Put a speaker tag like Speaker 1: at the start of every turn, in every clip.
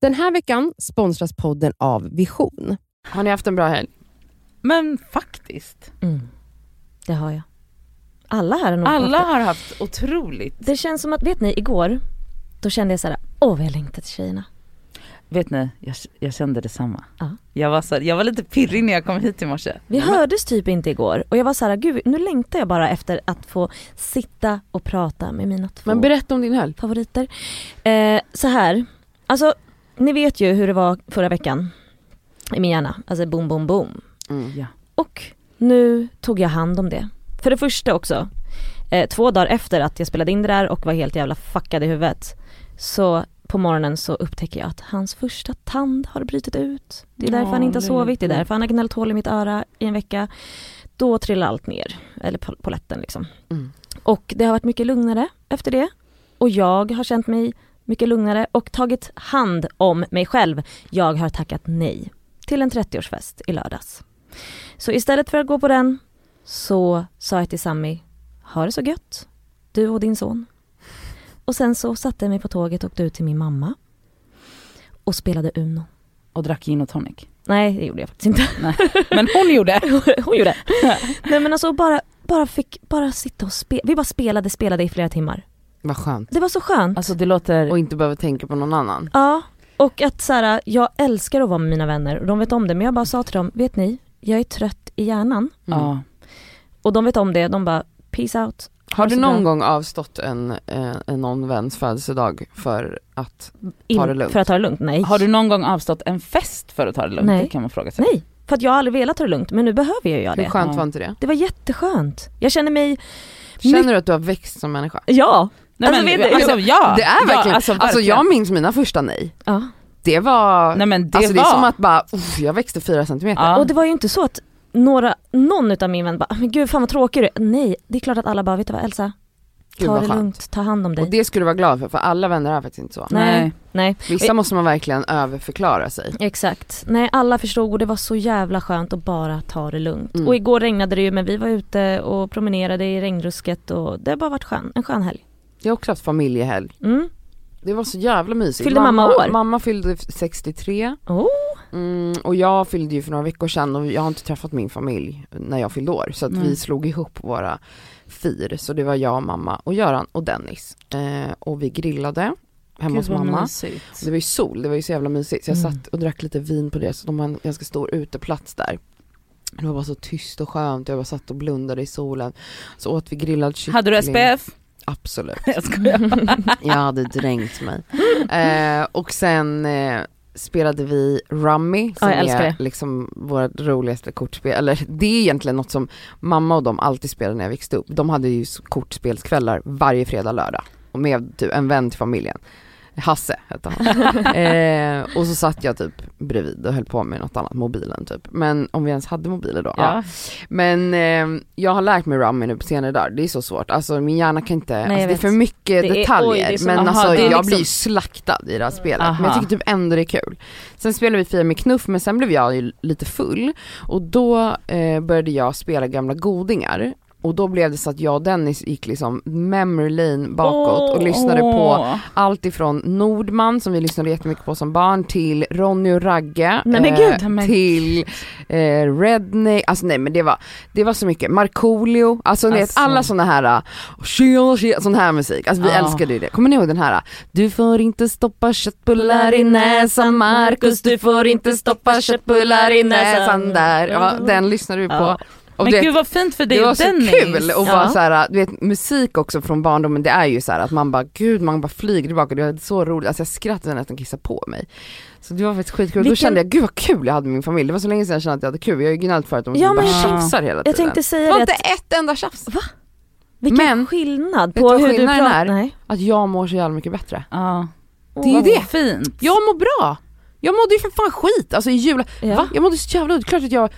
Speaker 1: Den här veckan sponsras podden av Vision.
Speaker 2: Har ni haft en bra helg?
Speaker 3: Men faktiskt.
Speaker 4: Mm. Det har jag. Alla här har
Speaker 2: Mm.
Speaker 4: nog
Speaker 3: Alla
Speaker 4: haft
Speaker 3: har haft otroligt...
Speaker 4: det. Det känns som att, vet ni, igår, då kände jag så här, åh vad jag längtar till tjejerna.
Speaker 3: Vet ni, jag, jag kände detsamma.
Speaker 4: Ja.
Speaker 3: Jag, var så, jag var lite pirrig när jag kom hit i morse.
Speaker 4: Vi hördes typ inte igår och jag var så här, gud nu längtar jag bara efter att få sitta och prata med mina två
Speaker 2: Men berätta om din helg.
Speaker 4: favoriter. Eh, så här, alltså ni vet ju hur det var förra veckan i min hjärna, alltså boom boom boom.
Speaker 3: Ja.
Speaker 4: Och nu tog jag hand om det. För det första också, eh, två dagar efter att jag spelade in det där och var helt jävla fuckad i huvudet. Så på morgonen så upptäcker jag att hans första tand har brutit ut. Det är därför
Speaker 3: Ja,
Speaker 4: han inte har
Speaker 3: det är
Speaker 4: sovit, det är
Speaker 3: lite-
Speaker 4: därför han har gnällt hål i mitt öra i en vecka. Då trillar allt ner, eller på, på lätten liksom.
Speaker 2: Mm.
Speaker 4: Och det har varit mycket lugnare efter det. Och jag har känt mig mycket lugnare och tagit hand om mig själv. Jag har tackat nej till en 30-årsfest i lördags. Så istället för att gå på den så sa jag till Sammy, ha det så gött, du och din son. Och sen så satte jag mig på tåget och åkte ut till min mamma och spelade Uno.
Speaker 3: Och drack gin och tonic.
Speaker 4: Nej, det gjorde jag faktiskt inte.
Speaker 3: Men hon gjorde.
Speaker 4: Hon gjorde. Nej men alltså bara, bara fick, bara sitta och spela. Vi bara spelade, spelade i flera timmar.
Speaker 2: Vad skönt.
Speaker 4: Det var så skönt.
Speaker 3: Alltså det låter...
Speaker 2: Och inte behöva tänka på någon annan.
Speaker 4: Ja, och att så här, jag älskar att vara med mina vänner och de vet om det. Men jag bara sa till dem, vet ni, jag är trött i hjärnan.
Speaker 2: Mm.
Speaker 3: Ja.
Speaker 4: Och de vet om det, de bara peace out.
Speaker 2: Har du
Speaker 4: så
Speaker 2: någon
Speaker 4: bra.
Speaker 2: gång avstått en, eh, en någon väns födelsedag för att, Ta det lugnt.
Speaker 4: För att ta det lugnt, nej.
Speaker 3: Har du någon gång avstått en fest för att ta det lugnt?
Speaker 4: Nej.
Speaker 3: Det kan man fråga sig.
Speaker 4: Nej, för att jag har aldrig velat ta det lugnt men nu behöver jag göra
Speaker 2: hur
Speaker 4: det.
Speaker 2: skönt
Speaker 3: Ja.
Speaker 2: var inte det?
Speaker 4: Det var jätteskönt. Jag känner mig,
Speaker 2: Känner du att du har växt som människa?
Speaker 4: ja.
Speaker 3: Nej,
Speaker 4: Alltså,
Speaker 3: men,
Speaker 4: vet du-
Speaker 3: alltså, ja.
Speaker 2: Det är verkligen,
Speaker 3: ja,
Speaker 2: alltså,
Speaker 3: verkligen.
Speaker 2: jag minns mina första nej.
Speaker 4: ja.
Speaker 2: Det var,
Speaker 3: Nej men det
Speaker 2: alltså det
Speaker 3: var...
Speaker 2: är som att bara, uff, jag växte fyra centimeter.
Speaker 3: ja.
Speaker 4: Och det var ju inte så att några, någon utav min vän bara, "Ah, men gud fan vad tråkig du är. Nej, det är klart att alla bara, vet du vad Elsa,
Speaker 2: Gud
Speaker 4: ta
Speaker 2: vad
Speaker 4: det
Speaker 2: skönt.
Speaker 4: lugnt, ta hand om dig.
Speaker 2: Och det skulle du vara glad för, för alla vänner är faktiskt inte så.
Speaker 3: Nej.
Speaker 4: Nej,
Speaker 2: Vissa måste man verkligen överförklara sig.
Speaker 4: exakt. Nej, alla förstod och det var så jävla skönt att bara ta det lugnt.
Speaker 2: Mm.
Speaker 4: Och igår regnade det ju men vi var ute och promenerade i regnrusket och det har bara varit skön, en skön helg.
Speaker 2: Jag har också haft familjehelg.
Speaker 4: Mm.
Speaker 2: Det var så jävla mysigt.
Speaker 4: Fyllde mamma år?
Speaker 2: Mamma fyllde 63
Speaker 4: Oh.
Speaker 2: mm, och jag fyllde ju för några veckor sedan och jag har inte träffat min familj när jag fyllde år så att
Speaker 3: Nej.
Speaker 2: vi slog ihop våra fir så det var jag, mamma och Göran och Dennis eh, och vi grillade hemma hos
Speaker 3: Gud, vad
Speaker 2: mamma.
Speaker 3: mysigt.
Speaker 2: Det var ju sol, det var ju så jävla mysigt så jag
Speaker 4: Mm.
Speaker 2: satt och drack lite vin på det så de har en ganska stor uteplats där. Det var bara så tyst och skönt, jag bara satt och blundade i solen. Så åt vi grillad kyckling.
Speaker 3: Hade du SPF?
Speaker 2: Absolut.
Speaker 3: Jag
Speaker 2: Mm.
Speaker 3: skojar.
Speaker 2: Jag hade dränkt mig. Eh, och sen eh, spelade vi Rummy som
Speaker 4: Ja, jag älskar
Speaker 2: är
Speaker 4: det.
Speaker 2: liksom vårt roligaste kortspel, eller det är egentligen något som mamma och de alltid spelade när jag växte upp. De hade ju s- kortspelskvällar varje fredag, lördag och med typ en vän till familjen. Hasse hette han. eh, och så satt jag typ bredvid och höll på med något annat, mobilen typ. Men om vi ens hade mobiler då. Ja.
Speaker 3: ja.
Speaker 2: Men eh, jag har lärt mig rummy nu på senare dagar, det är så svårt. Alltså min hjärna kan inte,
Speaker 4: jag
Speaker 2: alltså, det är
Speaker 4: vet.
Speaker 2: för mycket
Speaker 4: Det är- oj,
Speaker 2: detaljer.
Speaker 4: det är så-
Speaker 2: men
Speaker 3: aha,
Speaker 2: alltså
Speaker 3: det är
Speaker 2: jag
Speaker 3: liksom-
Speaker 2: blir ju slaktad i det här spelet. Men jag
Speaker 3: Aha.
Speaker 2: tycker typ ändå det är kul. Sen spelade vi Fia med knuff men sen blev jag ju lite full och då eh, började jag spela gamla godingar. Och då blev det så att jag och Dennis gick liksom memory lane bakåt och
Speaker 3: Åh.
Speaker 2: lyssnade på allt ifrån Nordman som vi lyssnade jättemycket på som barn till Ronny och Ragge.
Speaker 4: Nej, men
Speaker 2: eh,
Speaker 4: gud,
Speaker 3: men-
Speaker 2: Till eh, Redney, alltså nej men det var, det var så mycket. Markoolio, alltså, ni vet
Speaker 3: Alltså.
Speaker 2: alla sådana här, eh, tjena tjena, sån här musik. Alltså vi
Speaker 3: Ja.
Speaker 2: älskade ju det. Kommer ni ihåg den här? eh, Du får inte stoppa köttbullar i näsan Marcus, du får inte stoppa köttbullar i näsan där. Ja,
Speaker 4: Mm.
Speaker 2: den lyssnade vi på.
Speaker 4: Ja.
Speaker 2: Och
Speaker 3: Men
Speaker 2: du vet,
Speaker 3: gud vad fint för dig
Speaker 2: det var
Speaker 3: och
Speaker 2: så
Speaker 3: Dennis.
Speaker 2: kul att vara
Speaker 4: Ja.
Speaker 2: såhär, du vet musik också från barndomen det är ju såhär att man bara gud man bara flyger tillbaka, det var så roligt, alltså jag skrattade nästan kissa på mig. Så det var faktiskt skitkul, då
Speaker 4: Vilken-
Speaker 2: kände jag gud vad kul jag hade med min familj, det var så länge sedan jag kände att jag hade kul, jag har ju gnällt förut om att
Speaker 4: Ja,
Speaker 2: vi bara
Speaker 4: men
Speaker 3: jag-
Speaker 2: tjafsar hela tiden.
Speaker 4: Jag tänkte
Speaker 2: det
Speaker 4: säga
Speaker 2: var
Speaker 4: det,
Speaker 2: inte
Speaker 4: att,
Speaker 2: ett enda tjafs.
Speaker 4: vilken
Speaker 2: men-
Speaker 4: skillnad
Speaker 2: du
Speaker 4: på
Speaker 2: vad
Speaker 4: hur du
Speaker 2: skillnaden är?
Speaker 4: pratar. Nej.
Speaker 2: Att jag mår så jävla mycket bättre.
Speaker 3: Ja.
Speaker 2: Det är ju
Speaker 3: Åh,
Speaker 2: det.
Speaker 3: Fint.
Speaker 2: Jag mår bra! Jag mådde ju för fan skit, alltså i jul,
Speaker 4: Ja.
Speaker 2: va? Jag mådde så jävla dåligt, klart att jag,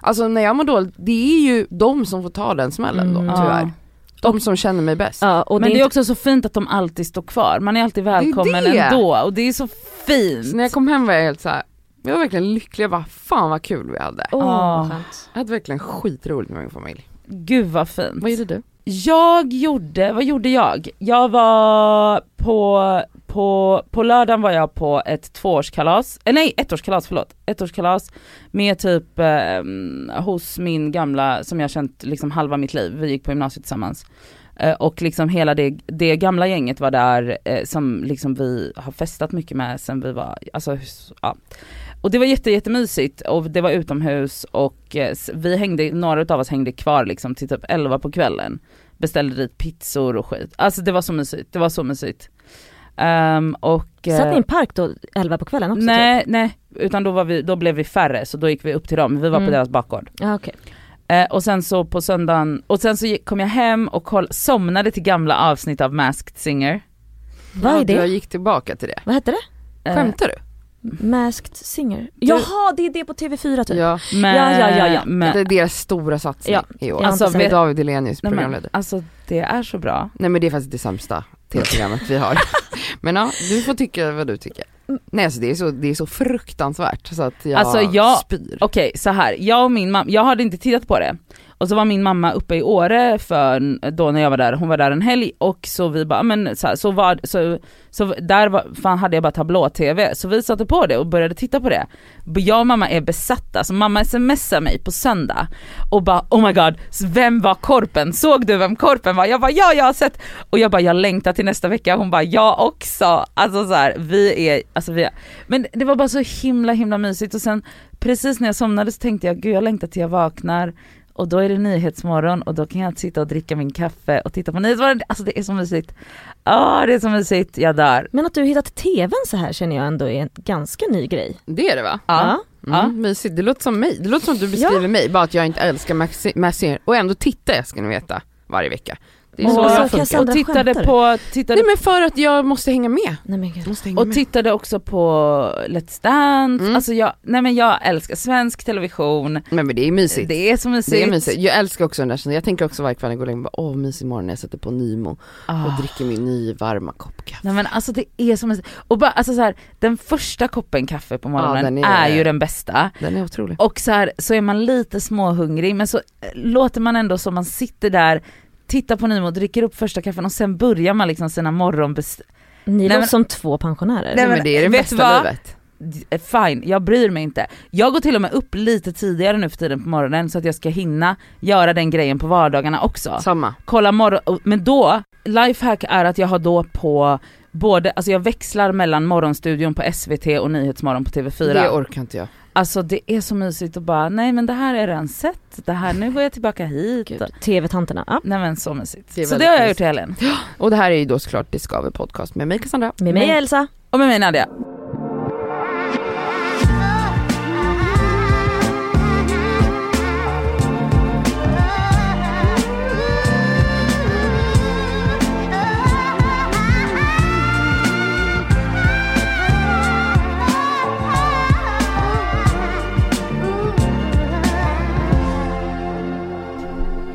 Speaker 2: alltså när jag mår dåligt, det är ju de som får ta den smällen då
Speaker 4: Mm.
Speaker 2: tyvärr.
Speaker 3: Ja.
Speaker 2: De som känner mig bäst.
Speaker 4: Ja, och
Speaker 3: Men det är
Speaker 4: inte-
Speaker 3: också så fint att de alltid står kvar, man är alltid välkommen
Speaker 2: det.
Speaker 3: ändå och det är så
Speaker 2: Så när jag
Speaker 3: fint.
Speaker 2: kom hem var jag helt så här. jag var verkligen lycklig, jag bara fan vad kul vi hade.
Speaker 4: Åh,
Speaker 3: Ja.
Speaker 4: vad skönt.
Speaker 2: Jag hade verkligen skitroligt med min familj.
Speaker 3: Gud vad fint.
Speaker 2: Vad gjorde du?
Speaker 3: Jag gjorde, vad gjorde jag? Jag var på, på, på lördagen var jag på ett tvåårskalas, eh, nej ettårskalas förlåt, ettårskalas med typ eh, hos min gamla som jag känt liksom halva mitt liv, vi gick på gymnasiet tillsammans. Eh, och liksom hela det, det gamla gänget var där eh, som liksom vi har festat mycket med sen vi var, alltså ja. Och det var jätte, jättemysigt och det var utomhus och eh, s- vi hängde, några utav oss hängde kvar liksom till typ 11 på kvällen. Beställde dit pizzor och skit. Alltså det var så mysigt, det var så mysigt. Ehm, och,
Speaker 4: Satt ni i
Speaker 3: eh,
Speaker 4: en park då 11 på kvällen också? typ.
Speaker 3: Nej, nej, utan då, var vi, då blev vi färre så då gick vi upp till dem, vi var
Speaker 4: Mm.
Speaker 3: på deras bakgård.
Speaker 4: Typ? Ja, okej.
Speaker 3: Eh, och sen så på söndagen, och sen så gick- kom jag hem och koll, somnade till gamla avsnitt av Masked Singer.
Speaker 4: Vad är
Speaker 2: Jag
Speaker 4: det?
Speaker 2: gick tillbaka till det.
Speaker 4: Vad hette det?
Speaker 3: Eh,
Speaker 2: Skämtar du?
Speaker 4: Masked Singer? Jaha, det är det på TV4 typ?
Speaker 2: Ja,
Speaker 3: Eh, men-
Speaker 4: Ja, ja, ja, ja.
Speaker 3: men-
Speaker 2: det är deras stora satsning
Speaker 4: Ja.
Speaker 2: i år.
Speaker 4: Jag har
Speaker 2: Alltså
Speaker 4: inte
Speaker 2: med
Speaker 4: sett
Speaker 2: David Hellenius
Speaker 3: nej, men,
Speaker 2: programledare.
Speaker 3: alltså det är så bra.
Speaker 2: Nej men det är faktiskt det sämsta tv-programmet vi har. men ja, du får tycka vad du tycker. Nej alltså det är så, det är så fruktansvärt så att jag,
Speaker 3: Alltså, jag-
Speaker 2: spyr.
Speaker 3: Okej så här, jag och min mamma, jag hade inte tittat på det. Och så var min mamma uppe i Åre för, då när jag var där, hon var där en helg och så vi bara, "Ah, men så, här, så var, så, så där var, fan hade jag bara tablå-tv. Så vi satte på det och började titta på det. B- Jag och mamma är besatta, så mamma smsar mig på söndag och bara oh my god, s- vem var korpen? Såg du vem korpen var? Jag bara ja, jag har sett. Och jag bara jag längtar till nästa vecka, hon bara jag också. Alltså så här, vi är, alltså vi är, men det var bara så himla himla mysigt och sen precis när jag somnade så tänkte jag, gud jag längtar till jag vaknar och då är det nyhetsmorgon och då kan jag sitta och dricka min kaffe och titta på nyhetsmorgon. Alltså det är så mysigt. Ja det är så mysigt, jag dör.
Speaker 4: Men att du har hittat TVn så här känner jag ändå är en ganska ny grej.
Speaker 2: Det är det va?
Speaker 3: Ja.
Speaker 2: Mm,
Speaker 3: Ja.
Speaker 2: Mysigt, det låter som mig. Det låter som att du beskriver mig, bara att jag inte älskar Maxi- Massinger och ändå tittar jag ska ni veta varje vecka. Det är
Speaker 3: Och
Speaker 2: så
Speaker 3: så
Speaker 2: jag funkar.
Speaker 4: Cassandra-
Speaker 3: Och tittade
Speaker 4: skämtar du?
Speaker 3: på, tittade,
Speaker 2: Nej men för att jag måste hänga med.
Speaker 4: Nej men gud.
Speaker 2: Måste hänga
Speaker 3: och
Speaker 2: med.
Speaker 3: tittade också på Let's Dance.
Speaker 2: Mm.
Speaker 3: Alltså jag, nej men jag älskar svensk television.
Speaker 2: Nej men det är mysigt.
Speaker 3: Det är så mysigt.
Speaker 2: Det är mysigt. Jag älskar också den där känslan. Jag tänker också varje kväll när jag går och lägger mig, bara, åh mysig morgon när jag sätter på Nimo
Speaker 3: Ah.
Speaker 2: och dricker min nyvarma kopp kaffe.
Speaker 3: Nej men alltså det är så mysigt. Och bara alltså så här, den första koppen kaffe på morgonen
Speaker 2: den är-
Speaker 3: är ju den bästa.
Speaker 2: Den är otrolig.
Speaker 3: Och så här, så är man lite småhungrig men så eh, låter man ändå som man sitter där, tittar på Nimo, dricker upp första kaffen och sen börjar man liksom sina morgonbest...
Speaker 4: Ni
Speaker 3: Nej,
Speaker 4: låter
Speaker 3: men-
Speaker 4: som två pensionärer.
Speaker 3: Nej,
Speaker 2: Nej, men
Speaker 3: men
Speaker 2: det är det
Speaker 3: vet
Speaker 2: bästa
Speaker 3: du vad?
Speaker 2: livet.
Speaker 3: Eh, Fine, jag bryr mig inte. Jag går till och med upp lite tidigare nu för tiden på morgonen så att jag ska hinna göra den grejen på vardagarna också.
Speaker 2: Samma.
Speaker 3: Kolla morgon... Men då, lifehack är att jag har då på både, alltså jag växlar mellan morgonstudion på SVT och Nyhetsmorgon på TV4.
Speaker 2: Det orkar inte jag.
Speaker 3: Alltså det är så mysigt att bara, nej men det här är redan sett, det här, nu går jag tillbaka hit.
Speaker 4: Gud, TV-tanterna. Ja.
Speaker 3: Nej men så mysigt.
Speaker 2: Det är
Speaker 3: så det
Speaker 2: väldigt
Speaker 3: har jag
Speaker 2: mysigt.
Speaker 3: gjort i helgen.
Speaker 2: Och det här är ju då såklart Det skaver podcast med mig Cassandra. Mm.
Speaker 4: Med mig
Speaker 3: Men-
Speaker 4: Elsa.
Speaker 3: Och med mig Nadia.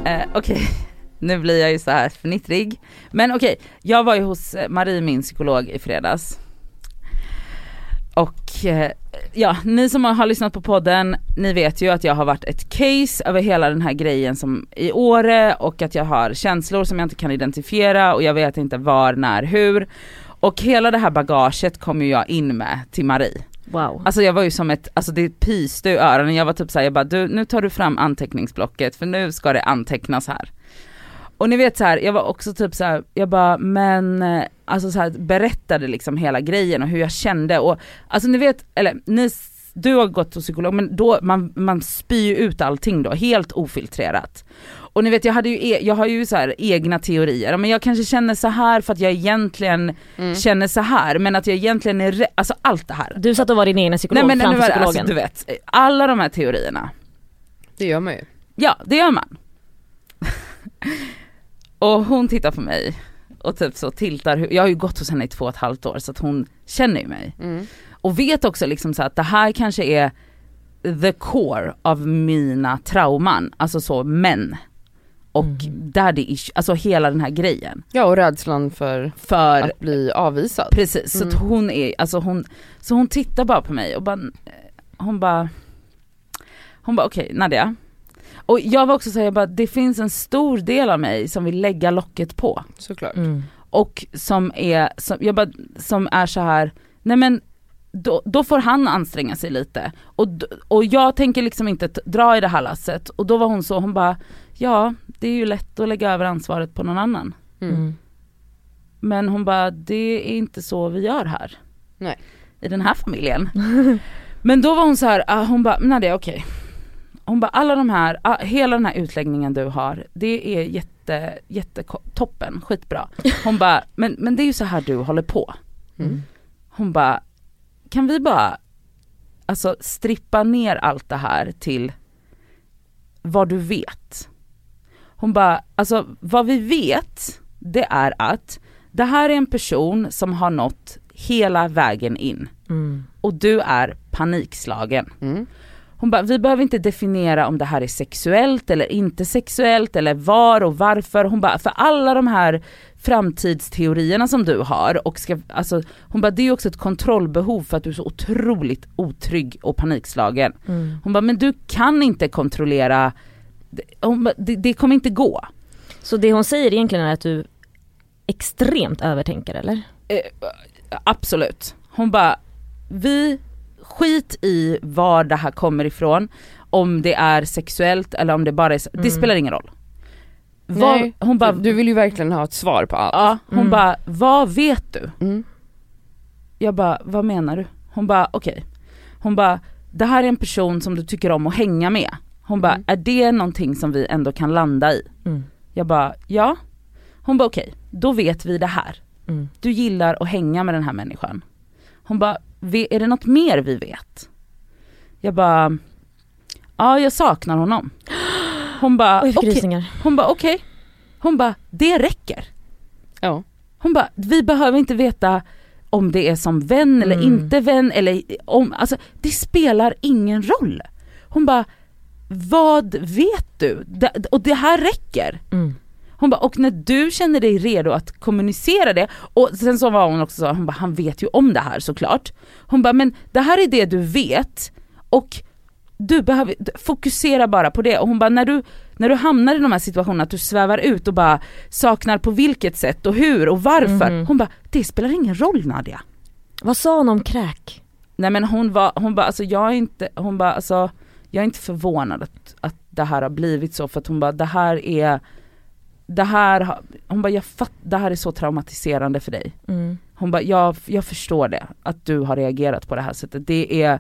Speaker 3: Eh, okej, nu blir jag ju så här fnittrig. Men okej, jag var ju hos eh, Marie, min psykolog, i fredags. Och eh, ja, ni som har lyssnat på podden, ni vet ju att jag har varit ett case över hela den här grejen som i Åre och att jag har känslor som jag inte kan identifiera och jag vet inte var, när, hur. Och hela det här bagaget kom ju jag in med till Marie.
Speaker 4: Wow.
Speaker 3: Alltså jag var ju som ett, alltså det pyste ur öronen. Jag var typ såhär, jag bara du, nu tar du fram anteckningsblocket för nu ska det antecknas här. Och ni vet så här, jag var också typ så här, jag bara men, eh, alltså så här, berättade liksom hela grejen och hur jag kände och alltså ni vet, eller ni, s- du har gått till psykolog men då, man, man spyr ju ut allting då, helt ofiltrerat. Och ni vet jag hade ju, e- jag har ju så här egna teorier, Ja, men jag kanske känner så här för att jag egentligen känner så här men att jag egentligen är rädd, alltså allt det här.
Speaker 4: Du satt och var din egen psykolog
Speaker 3: Nej, men nu
Speaker 4: framför
Speaker 3: är det,
Speaker 4: psykologen.
Speaker 3: alltså, du vet, alla de här teorierna,
Speaker 2: Det gör man ju.
Speaker 3: ja det gör man. och hon tittar på mig och typ så tiltar, hu- jag har ju gått hos henne i två och ett halvt år så att hon känner ju mig.
Speaker 4: Mm.
Speaker 3: Och vet också liksom så att det här kanske är the core av mina trauman, alltså så män. Och
Speaker 4: Mm.
Speaker 3: daddy issue, alltså hela den här grejen.
Speaker 2: Ja och rädslan för
Speaker 3: För
Speaker 2: att bli avvisad.
Speaker 3: Precis, så att hon är, alltså hon, så hon tittar bara på mig och bara, eh, hon bara, hon bara okej Nadia. Och jag var också såhär, jag bara det finns en stor del av mig som vill lägga locket på.
Speaker 2: Såklart.
Speaker 4: Mm.
Speaker 3: och som är, som, jag bara, som är så här, nej men då, då får han anstränga sig lite. Och, d- och jag tänker liksom inte t- dra i det här lasset. Och då var hon så, hon bara, ja det är ju lätt att lägga över ansvaret på någon annan.
Speaker 2: Mm.
Speaker 3: Men hon bara, det är inte så vi gör här.
Speaker 2: Nej.
Speaker 3: I den här familjen. Men då var hon så här, ah, hon bara, nej det är okej. Hon bara, alla de här, ah, hela den här utläggningen du har, det är jätte, jätte toppen, skitbra. Hon bara, men, men det är ju så här du håller på.
Speaker 2: Mm.
Speaker 3: Hon bara, kan vi bara alltså, strippa ner allt det här till vad du vet? Hon bara, alltså vad vi vet det är att det här är en person som har nått hela vägen in
Speaker 4: Mm.
Speaker 3: och du är panikslagen.
Speaker 2: Mm.
Speaker 3: Hon bara, vi behöver inte definiera om det här är sexuellt eller inte sexuellt eller var och varför. Hon bara, för alla de här framtidsteorierna som du har och ska, alltså, hon bara, det är ju också ett kontrollbehov för att du är så otroligt otrygg och panikslagen.
Speaker 4: Mm.
Speaker 3: Hon bara, men du kan inte kontrollera, hon bara, det, det kommer inte gå.
Speaker 4: Så det hon säger egentligen är att du extremt övertänker eller?
Speaker 3: Eh, absolut. Hon bara, vi skit i var det här kommer ifrån, om det är sexuellt eller om det bara är, det
Speaker 4: Mm.
Speaker 3: spelar ingen roll.
Speaker 2: Nej,
Speaker 3: Vad- hon bara,
Speaker 2: Du, du vill ju verkligen ha ett svar på allt.
Speaker 3: ja, hon
Speaker 4: Mm.
Speaker 3: bara, vad vet du?
Speaker 2: Mm.
Speaker 3: Jag bara, vad menar du? Hon bara, okej. Hon bara, det här är en person som du tycker om att hänga med. Hon bara,
Speaker 2: Mm.
Speaker 3: är det någonting som vi ändå kan landa i?
Speaker 4: Mm.
Speaker 3: Jag bara, ja. Hon bara, okej, då vet vi det här.
Speaker 4: Mm.
Speaker 3: Du gillar att hänga med den här människan. Hon bara, "Ve- är det något mer vi vet? Jag bara, ja jag saknar honom. Hon bara,
Speaker 4: Oj, jag fick
Speaker 3: okej.
Speaker 4: rysningar.
Speaker 3: Hon bara, okej. Hon bara, det räcker.
Speaker 2: Ja.
Speaker 3: Hon bara, vi behöver inte veta om det är som vän eller
Speaker 4: Mm.
Speaker 3: inte vän eller om, alltså det spelar ingen roll. Hon bara, vad vet du? Det- Och det här räcker.
Speaker 4: Mm.
Speaker 3: Hon bara, och när du känner dig redo att kommunicera det, och sen så var hon också så, hon bara, han vet ju om det här såklart. Hon bara, men det här är det du vet och du behöver, fokusera bara på det. Och hon bara, när du, när du hamnar i de här situationerna att du svävar ut och bara saknar på vilket sätt och hur och varför.
Speaker 4: Mhm.
Speaker 3: Hon bara, det spelar ingen roll Nadia.
Speaker 4: Vad sa hon om kräk?
Speaker 3: Nej men hon var, hon bara alltså jag är inte, hon bara alltså jag är inte förvånad att, att det här har blivit så för att hon bara det här är, det här, har- hon bara jag fatt, det här är så traumatiserande för dig.
Speaker 4: Mm.
Speaker 3: Hon bara jag, jag förstår det, att du har reagerat på det här sättet. Det är,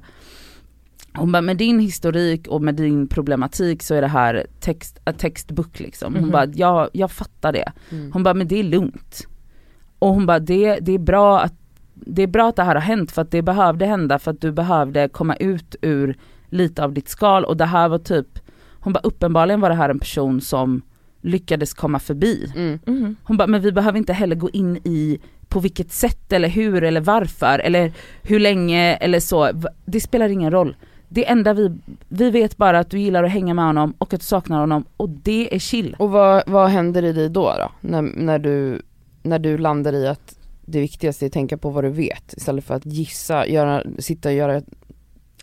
Speaker 3: hon bara med din historik och med din problematik så är det här text, a textbook liksom. Hon
Speaker 4: Mhm.
Speaker 3: bara jag, jag fattar det.
Speaker 2: Mm.
Speaker 3: Hon bara, men det är lugnt. Och hon bara, det, det, är bra att, det är bra att det här har hänt för att det behövde hända för att du behövde komma ut ur lite av ditt skal och det här var typ, hon bara uppenbarligen var det här en person som lyckades komma förbi.
Speaker 2: Mm.
Speaker 4: Mm.
Speaker 3: Hon bara, men vi behöver inte heller gå in i på vilket sätt eller hur eller varför eller hur länge eller så. V- Det spelar ingen roll. Det enda vi, vi vet bara att du gillar att hänga med honom och att du saknar honom och det är chill.
Speaker 2: Och vad, vad händer i dig då? då? När, när, du, när du landar i att det viktigaste är att tänka på vad du vet istället för att gissa, göra, sitta och göra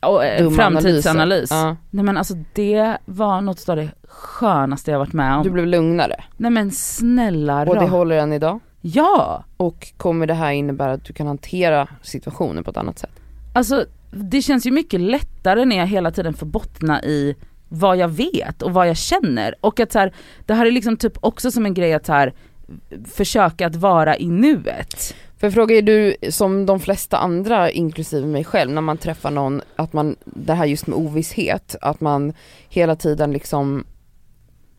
Speaker 3: Och, eh,
Speaker 2: dumma
Speaker 3: framtidsanalys.
Speaker 2: analyser.
Speaker 3: Nej men alltså det var något av det skönaste jag varit med
Speaker 2: Ja.
Speaker 3: om.
Speaker 2: Du blev lugnare
Speaker 3: Nej men snälla
Speaker 2: och det
Speaker 3: rara.
Speaker 2: håller än idag.
Speaker 3: Ja!
Speaker 2: Och kommer det här innebära att du kan hantera situationen på ett annat sätt?
Speaker 3: Alltså det känns ju mycket lättare när jag hela tiden får bottna i vad jag vet och vad jag känner. Och att så här, det här är liksom typ också som en grej att så här, försöka att vara i nuet.
Speaker 2: För fråga är du som de flesta andra, inklusive mig själv, när man träffar någon, att man, det här just med ovisshet, att man hela tiden liksom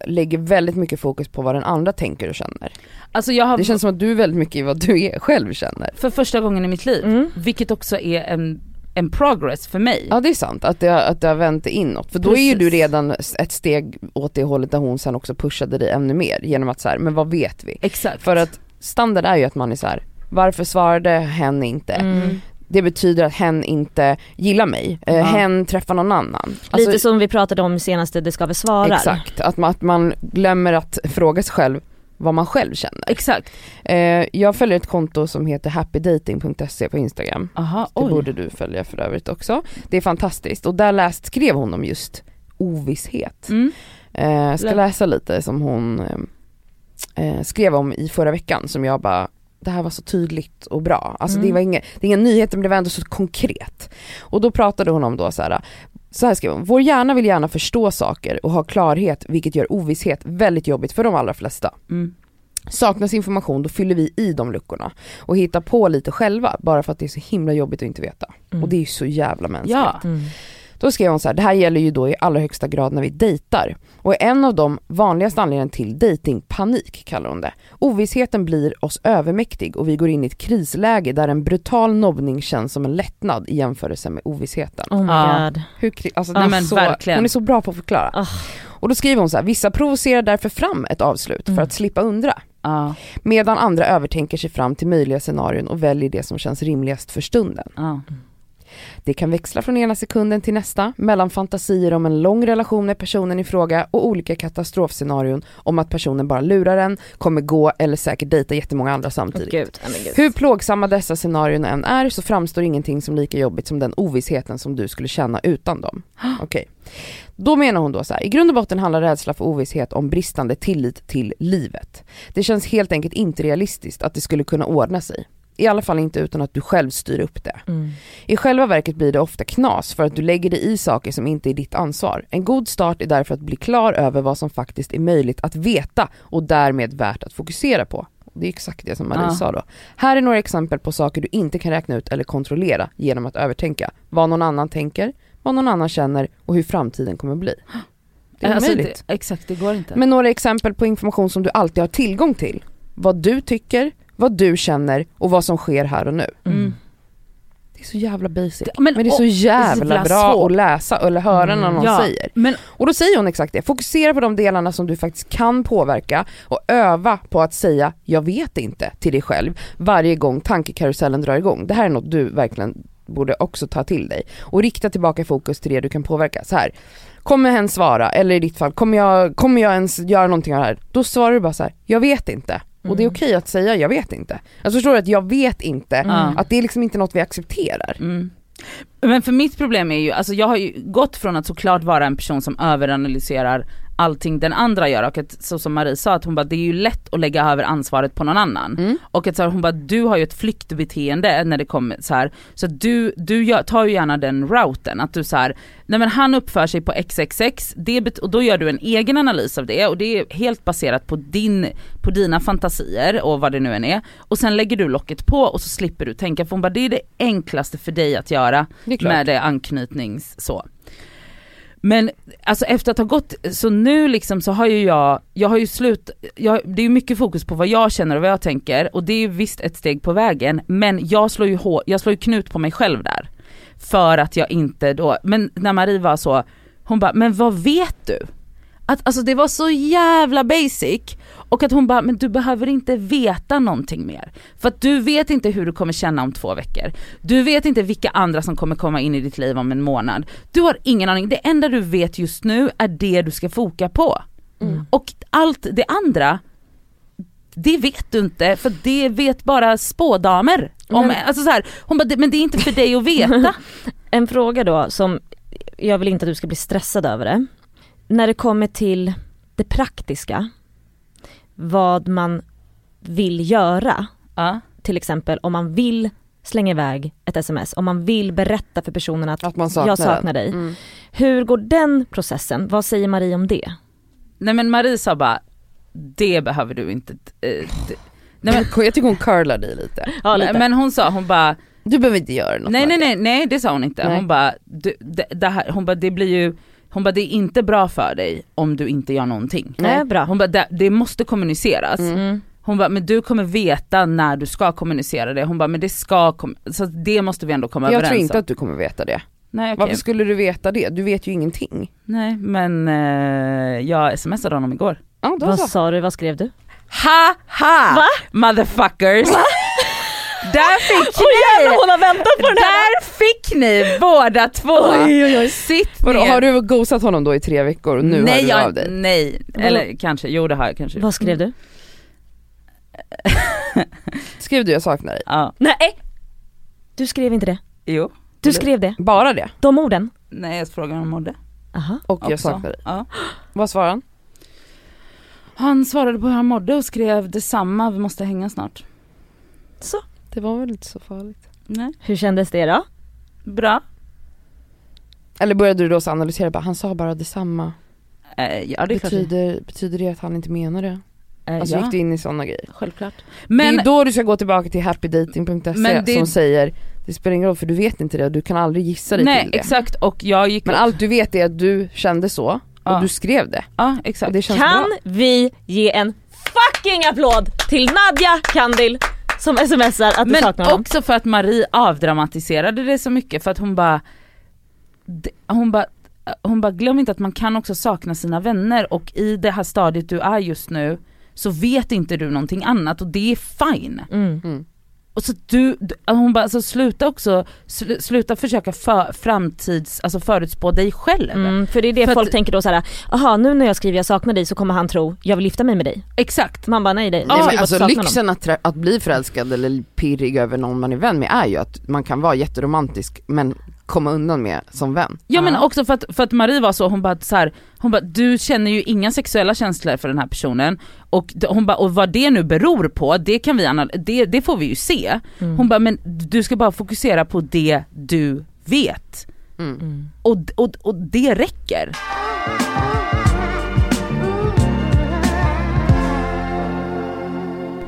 Speaker 2: lägger väldigt mycket fokus på vad den andra tänker och känner.
Speaker 3: Alltså jag har
Speaker 2: Det känns som att du är väldigt mycket i vad du är, själv känner.
Speaker 3: för första gången i mitt liv,
Speaker 4: Mm.
Speaker 3: vilket också är en, en progress för mig.
Speaker 2: Ja det är sant, att det, har- att det har vänt dig inåt. För då är ju
Speaker 3: Precis.
Speaker 2: du redan ett steg åt det hållet där hon sen också pushade dig ännu mer genom att så här, men vad vet vi?
Speaker 3: Exakt.
Speaker 2: För att standard är ju att man är så här, varför svarade hen inte?
Speaker 4: Mm.
Speaker 2: Det betyder att hen inte gillar mig, eh,
Speaker 3: Ja.
Speaker 2: hen träffar någon annan. Alltså,
Speaker 4: Lite som vi pratade om senaste Det ska vi svara.
Speaker 2: Exakt, att man, att man glömmer att fråga sig själv vad man själv känner.
Speaker 3: Exakt.
Speaker 2: Eh, jag följer ett konto som heter happydating.se på Instagram.
Speaker 3: Aha,
Speaker 2: Det
Speaker 3: oj.
Speaker 2: borde du följa för övrigt också. Det är fantastiskt och där läst, skrev hon om just ovisshet.
Speaker 3: Mm.
Speaker 2: Eh, jag ska
Speaker 3: Lä-
Speaker 2: läsa lite som hon eh, eh, skrev om i förra veckan som jag bara det här var så tydligt och bra. Alltså det,
Speaker 4: Mm.
Speaker 2: var inga, det är inga nyheter men det var ändå så konkret. Och då pratade hon om då så här, så här skrev hon, vår hjärna vill gärna förstå saker och ha klarhet vilket gör ovisshet väldigt jobbigt för de allra flesta.
Speaker 3: Mm.
Speaker 2: Saknas information då fyller vi i de luckorna och hittar på lite själva bara för att det är så himla jobbigt att inte veta.
Speaker 4: Mm.
Speaker 2: Och det är ju så jävla mänskligt.
Speaker 3: Ja.
Speaker 4: Mm.
Speaker 2: Då skrev hon så här, det här gäller ju då i allra högsta grad när vi dejtar. Och är en av de vanligaste anledningarna till dejtingpanik kallar hon det. Ovissheten blir oss övermäktig och vi går in i ett krisläge där en brutal nobbning känns som en lättnad i jämförelse med ovissheten.
Speaker 4: Oh my
Speaker 3: Ja.
Speaker 4: god.
Speaker 2: Hur, kri- alltså, det
Speaker 3: Ja,
Speaker 2: är
Speaker 3: men
Speaker 2: så,
Speaker 3: verkligen.
Speaker 2: hon är så bra på att förklara.
Speaker 4: Ah.
Speaker 2: Och då skriver hon så här, vissa provocerar därför fram ett avslut för
Speaker 4: Mm.
Speaker 2: att slippa undra.
Speaker 3: Ja.
Speaker 2: Medan andra övertänker sig fram till möjliga scenarion och väljer det som känns rimligast för stunden.
Speaker 3: Ja.
Speaker 2: Det kan växla från ena sekunden till nästa, mellan fantasier om en lång relation med personen i fråga och olika katastrofscenarion om att personen bara lurar en, kommer gå eller säkert dejta jättemånga andra samtidigt.
Speaker 4: Gud. nej men gud.
Speaker 2: Hur plågsamma dessa scenarion än är så framstår ingenting som lika jobbigt som den ovissheten som du skulle känna utan dem. Okej. Då menar hon då så här, i grund och botten handlar rädsla för ovisshet om bristande tillit till livet. Det känns helt enkelt inte realistiskt att det skulle kunna ordna sig. I alla fall inte utan att du själv styr upp det.
Speaker 4: Mm.
Speaker 2: I själva verket blir det ofta knas för att du lägger dig i saker som inte är ditt ansvar. En god start är därför att bli klar över vad som faktiskt är möjligt att veta och därmed värt att fokusera på. Det är exakt det som Marie
Speaker 3: Ja.
Speaker 2: sa då. Här är några exempel på saker du inte kan räkna ut eller kontrollera genom att övertänka. Vad någon annan tänker, vad någon annan känner och hur framtiden kommer bli. Det är
Speaker 3: Alltså,
Speaker 2: omöjligt.
Speaker 3: det- Exakt, det går inte.
Speaker 2: Men några exempel på information som du alltid har tillgång till. Vad du tycker, vad du känner och vad som sker här och nu.
Speaker 3: Mm.
Speaker 2: Det är så jävla basic.
Speaker 3: Det-
Speaker 2: Men, det är så jävla,
Speaker 3: jävla
Speaker 2: bra
Speaker 3: svårt. Mm.
Speaker 2: att läsa eller höra när någon
Speaker 3: ja.
Speaker 2: säger.
Speaker 3: Men
Speaker 2: Och då säger hon exakt det, fokusera på de delarna som du faktiskt kan påverka och öva på att säga jag vet inte till dig själv varje gång tankekarusellen drar igång. Det här är något du verkligen borde också ta till dig och rikta tillbaka fokus till det du kan påverka. Så här, kommer hen svara? Eller i ditt fall, kommer jag, kommer jag ens göra någonting av det här? Då svarar du bara så här, jag vet inte. Och det är
Speaker 4: Mm.
Speaker 2: okej att säga jag vet inte. Alltså förstår du att jag vet inte,
Speaker 3: Mm.
Speaker 2: att det är liksom inte något vi accepterar.
Speaker 3: Mm. Men för mitt problem är ju, alltså jag har ju gått från att såklart vara en person som överanalyserar allting den andra gör och att, så som Marie sa, att hon bara det är ju lätt att lägga över ansvaret på någon annan.
Speaker 2: Mm.
Speaker 3: Och att så här, hon bara du har ju ett flyktbeteende när det kommer så här. så att du, du gör, tar ju gärna den routen att du så här, nej men han uppför sig på xxx, det bet- och då gör du en egen analys av det och det är helt baserat på, din, på dina fantasier och vad det nu än är. Och sen lägger du locket på och så slipper du tänka för hon bara det är det enklaste för dig att göra
Speaker 2: Det är klart.
Speaker 3: med det anknytnings så. Men alltså efter att ha gått, så nu liksom så har ju jag, jag har ju slut, jag, det är ju mycket fokus på vad jag känner och vad jag tänker och det är ju visst ett steg på vägen men jag slår ju, hår, jag slår ju knut på mig själv där. För att jag inte då, men när Marie var så, hon bara men vad vet du? Att, alltså det var så jävla basic och att hon bara men du behöver inte veta någonting mer. För att du vet inte hur du kommer känna om två veckor. Du vet inte vilka andra som kommer komma in i ditt liv om en månad. Du har ingen aning, det enda du vet just nu är det du ska foka på.
Speaker 4: Mm.
Speaker 3: Och allt det andra, det vet du inte för det vet bara spådamer. Om,
Speaker 4: Men-
Speaker 3: alltså så här, hon bara, "Det- men det är inte för dig att veta.
Speaker 4: En fråga då som jag vill inte att du ska bli stressad över det. När det kommer till det praktiska, vad man vill göra,
Speaker 3: ja.
Speaker 4: till exempel om man vill slänga iväg ett sms, om man vill berätta för personen att
Speaker 2: Att man saknar
Speaker 4: jag
Speaker 2: den.
Speaker 4: saknar dig.
Speaker 2: Mm.
Speaker 4: Hur går den processen? Vad säger Marie om det?
Speaker 3: Nej men Marie sa bara, det behöver du inte. eh, det- Nej, men,
Speaker 2: Jag tycker hon curlar dig lite.
Speaker 4: Ja lite.
Speaker 3: men hon sa, hon bara,
Speaker 2: Du behöver inte göra något
Speaker 3: nej
Speaker 2: med
Speaker 3: nej
Speaker 2: det.
Speaker 3: nej, nej det sa hon inte.
Speaker 2: Nej.
Speaker 3: Hon bara, du- det, det här, hon bara det blir ju, hon bara det är inte bra för dig om du inte gör någonting.
Speaker 4: Nej, bra.
Speaker 3: Hon bara det, det måste kommuniceras.
Speaker 2: Mm-hmm.
Speaker 4: Mm.
Speaker 3: Hon bara men du kommer veta när du ska kommunicera det. Hon bara men det ska, kom- så det måste vi ändå komma
Speaker 2: Jag
Speaker 3: överens
Speaker 2: tror inte
Speaker 3: om.
Speaker 2: att du kommer veta det.
Speaker 3: Nej, okej.
Speaker 2: Varför skulle du veta det? Du vet ju ingenting.
Speaker 3: nej men eh, jag smsade honom igår.
Speaker 2: Ja, då
Speaker 4: Vad
Speaker 2: så.
Speaker 4: sa du, vad skrev du?
Speaker 3: Ha
Speaker 2: Ah.
Speaker 3: ha!
Speaker 4: Va?
Speaker 3: Motherfuckers! Där fick ni!
Speaker 4: hon har väntat på
Speaker 3: Där fick ni båda två!
Speaker 2: Oj, oj, oj.
Speaker 3: Sitt
Speaker 2: Vadå,
Speaker 3: ner!
Speaker 2: har du gosat honom då i tre veckor och nu
Speaker 3: nej,
Speaker 2: hör du
Speaker 3: jag,
Speaker 2: av dig?
Speaker 3: Nej, eller kanske, jo det har jag kanske.
Speaker 4: Vad skrev du?
Speaker 2: Skrev du jag saknar dig?
Speaker 3: Ja,
Speaker 4: Nej! Du skrev inte det.
Speaker 3: jo.
Speaker 4: Du
Speaker 3: Eller-
Speaker 4: skrev det.
Speaker 2: Bara det?
Speaker 4: De orden.
Speaker 3: Nej jag frågade om han mådde.
Speaker 4: Aha.
Speaker 2: Och
Speaker 3: också.
Speaker 2: jag saknar dig.
Speaker 3: Ja.
Speaker 2: Vad svarar han?
Speaker 3: Han svarade på hur han mådde och skrev detsamma, vi måste hänga snart.
Speaker 4: Så.
Speaker 2: Det var väl inte så farligt.
Speaker 3: Nej.
Speaker 4: Hur kändes det då?
Speaker 3: Bra.
Speaker 2: Eller började du då så analysera, bara, han sa bara detsamma.
Speaker 3: Eh, ja det är klart.
Speaker 2: Betyder, betyder det att han inte menar det?
Speaker 3: Eh,
Speaker 2: Alltså
Speaker 3: ja,
Speaker 2: gick du in i sådana grejer?
Speaker 3: självklart.
Speaker 2: det
Speaker 3: Men
Speaker 2: är då du ska gå tillbaka till happydating.se
Speaker 3: Men det-
Speaker 2: som säger det spelar ingen roll för du vet inte det och du kan aldrig gissa dig
Speaker 3: nej
Speaker 2: till det.
Speaker 3: exakt och jag gick
Speaker 2: Men allt du vet är att du kände så och
Speaker 3: Ja.
Speaker 2: du skrev det.
Speaker 3: Ja
Speaker 2: Och
Speaker 3: exakt.
Speaker 2: det känns
Speaker 4: Kan
Speaker 2: bra.
Speaker 4: vi ge en fucking applåd till Nadja Kandil som smsar att du
Speaker 3: Men
Speaker 4: saknar honom?
Speaker 3: också för att Marie avdramatiserade det så mycket för att hon bara d- hon bara hon bara glöm inte att man kan också sakna sina vänner och i det här stadiet du är just nu så vet inte du någonting annat och det är fine.
Speaker 4: Mm.
Speaker 3: Och så du, du- hon bara alltså sluta också, sl, sluta försöka för, framtids, alltså förutspå dig själv.
Speaker 4: Mm, för det är det
Speaker 3: För att-
Speaker 4: folk tänker då såhär, aha nu när jag skriver jag saknar dig så kommer han tro jag vill gifta mig med dig.
Speaker 3: Exakt.
Speaker 4: Man bara nej det, det
Speaker 2: Nej, men
Speaker 4: är bara
Speaker 2: alltså
Speaker 4: saknar honom.
Speaker 2: lyxen att, trä- att bli förälskad eller pirrig över någon man är vän med är ju att man kan vara jätteromantisk men komma undan med som vän.
Speaker 3: Ja men
Speaker 4: Ja.
Speaker 3: också för att, för att Marie var så, hon bara så här, hon bara du känner ju inga sexuella känslor för den här personen och d- hon bara och vad det nu beror på det kan vi anal- det, det får vi ju se. Hon bara men du ska bara fokusera på det du vet.
Speaker 2: Mm.
Speaker 3: Och, d- och, och det räcker.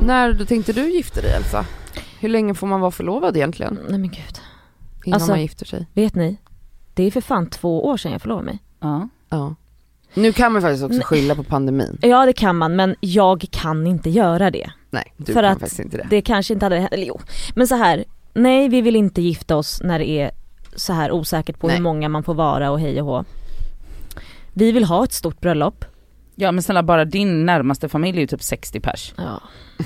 Speaker 2: När då tänkte du gifta dig Elsa? Hur länge får man vara förlovad egentligen?
Speaker 4: Mm, Nej men gud,
Speaker 2: Innan
Speaker 4: Alltså-
Speaker 2: man gifter sig?
Speaker 4: vet ni? Det är för fan två år sedan jag förlovade mig.
Speaker 3: Ja.
Speaker 2: Ja. Nu kan man faktiskt också
Speaker 4: Nej.
Speaker 2: skylla på pandemin.
Speaker 4: Ja det kan man men jag kan inte göra det.
Speaker 2: Nej, du
Speaker 4: För
Speaker 2: kan
Speaker 4: att
Speaker 2: faktiskt inte det.
Speaker 4: Det kanske inte hade hänt, eller jo. Men så här, nej vi vill inte gifta oss när det är så här osäkert på
Speaker 2: Nej.
Speaker 4: hur många man får vara och hej och hå. Vi vill ha ett stort bröllop.
Speaker 3: Ja men snälla bara din närmaste familj är ju typ 60 pers.
Speaker 4: Ja.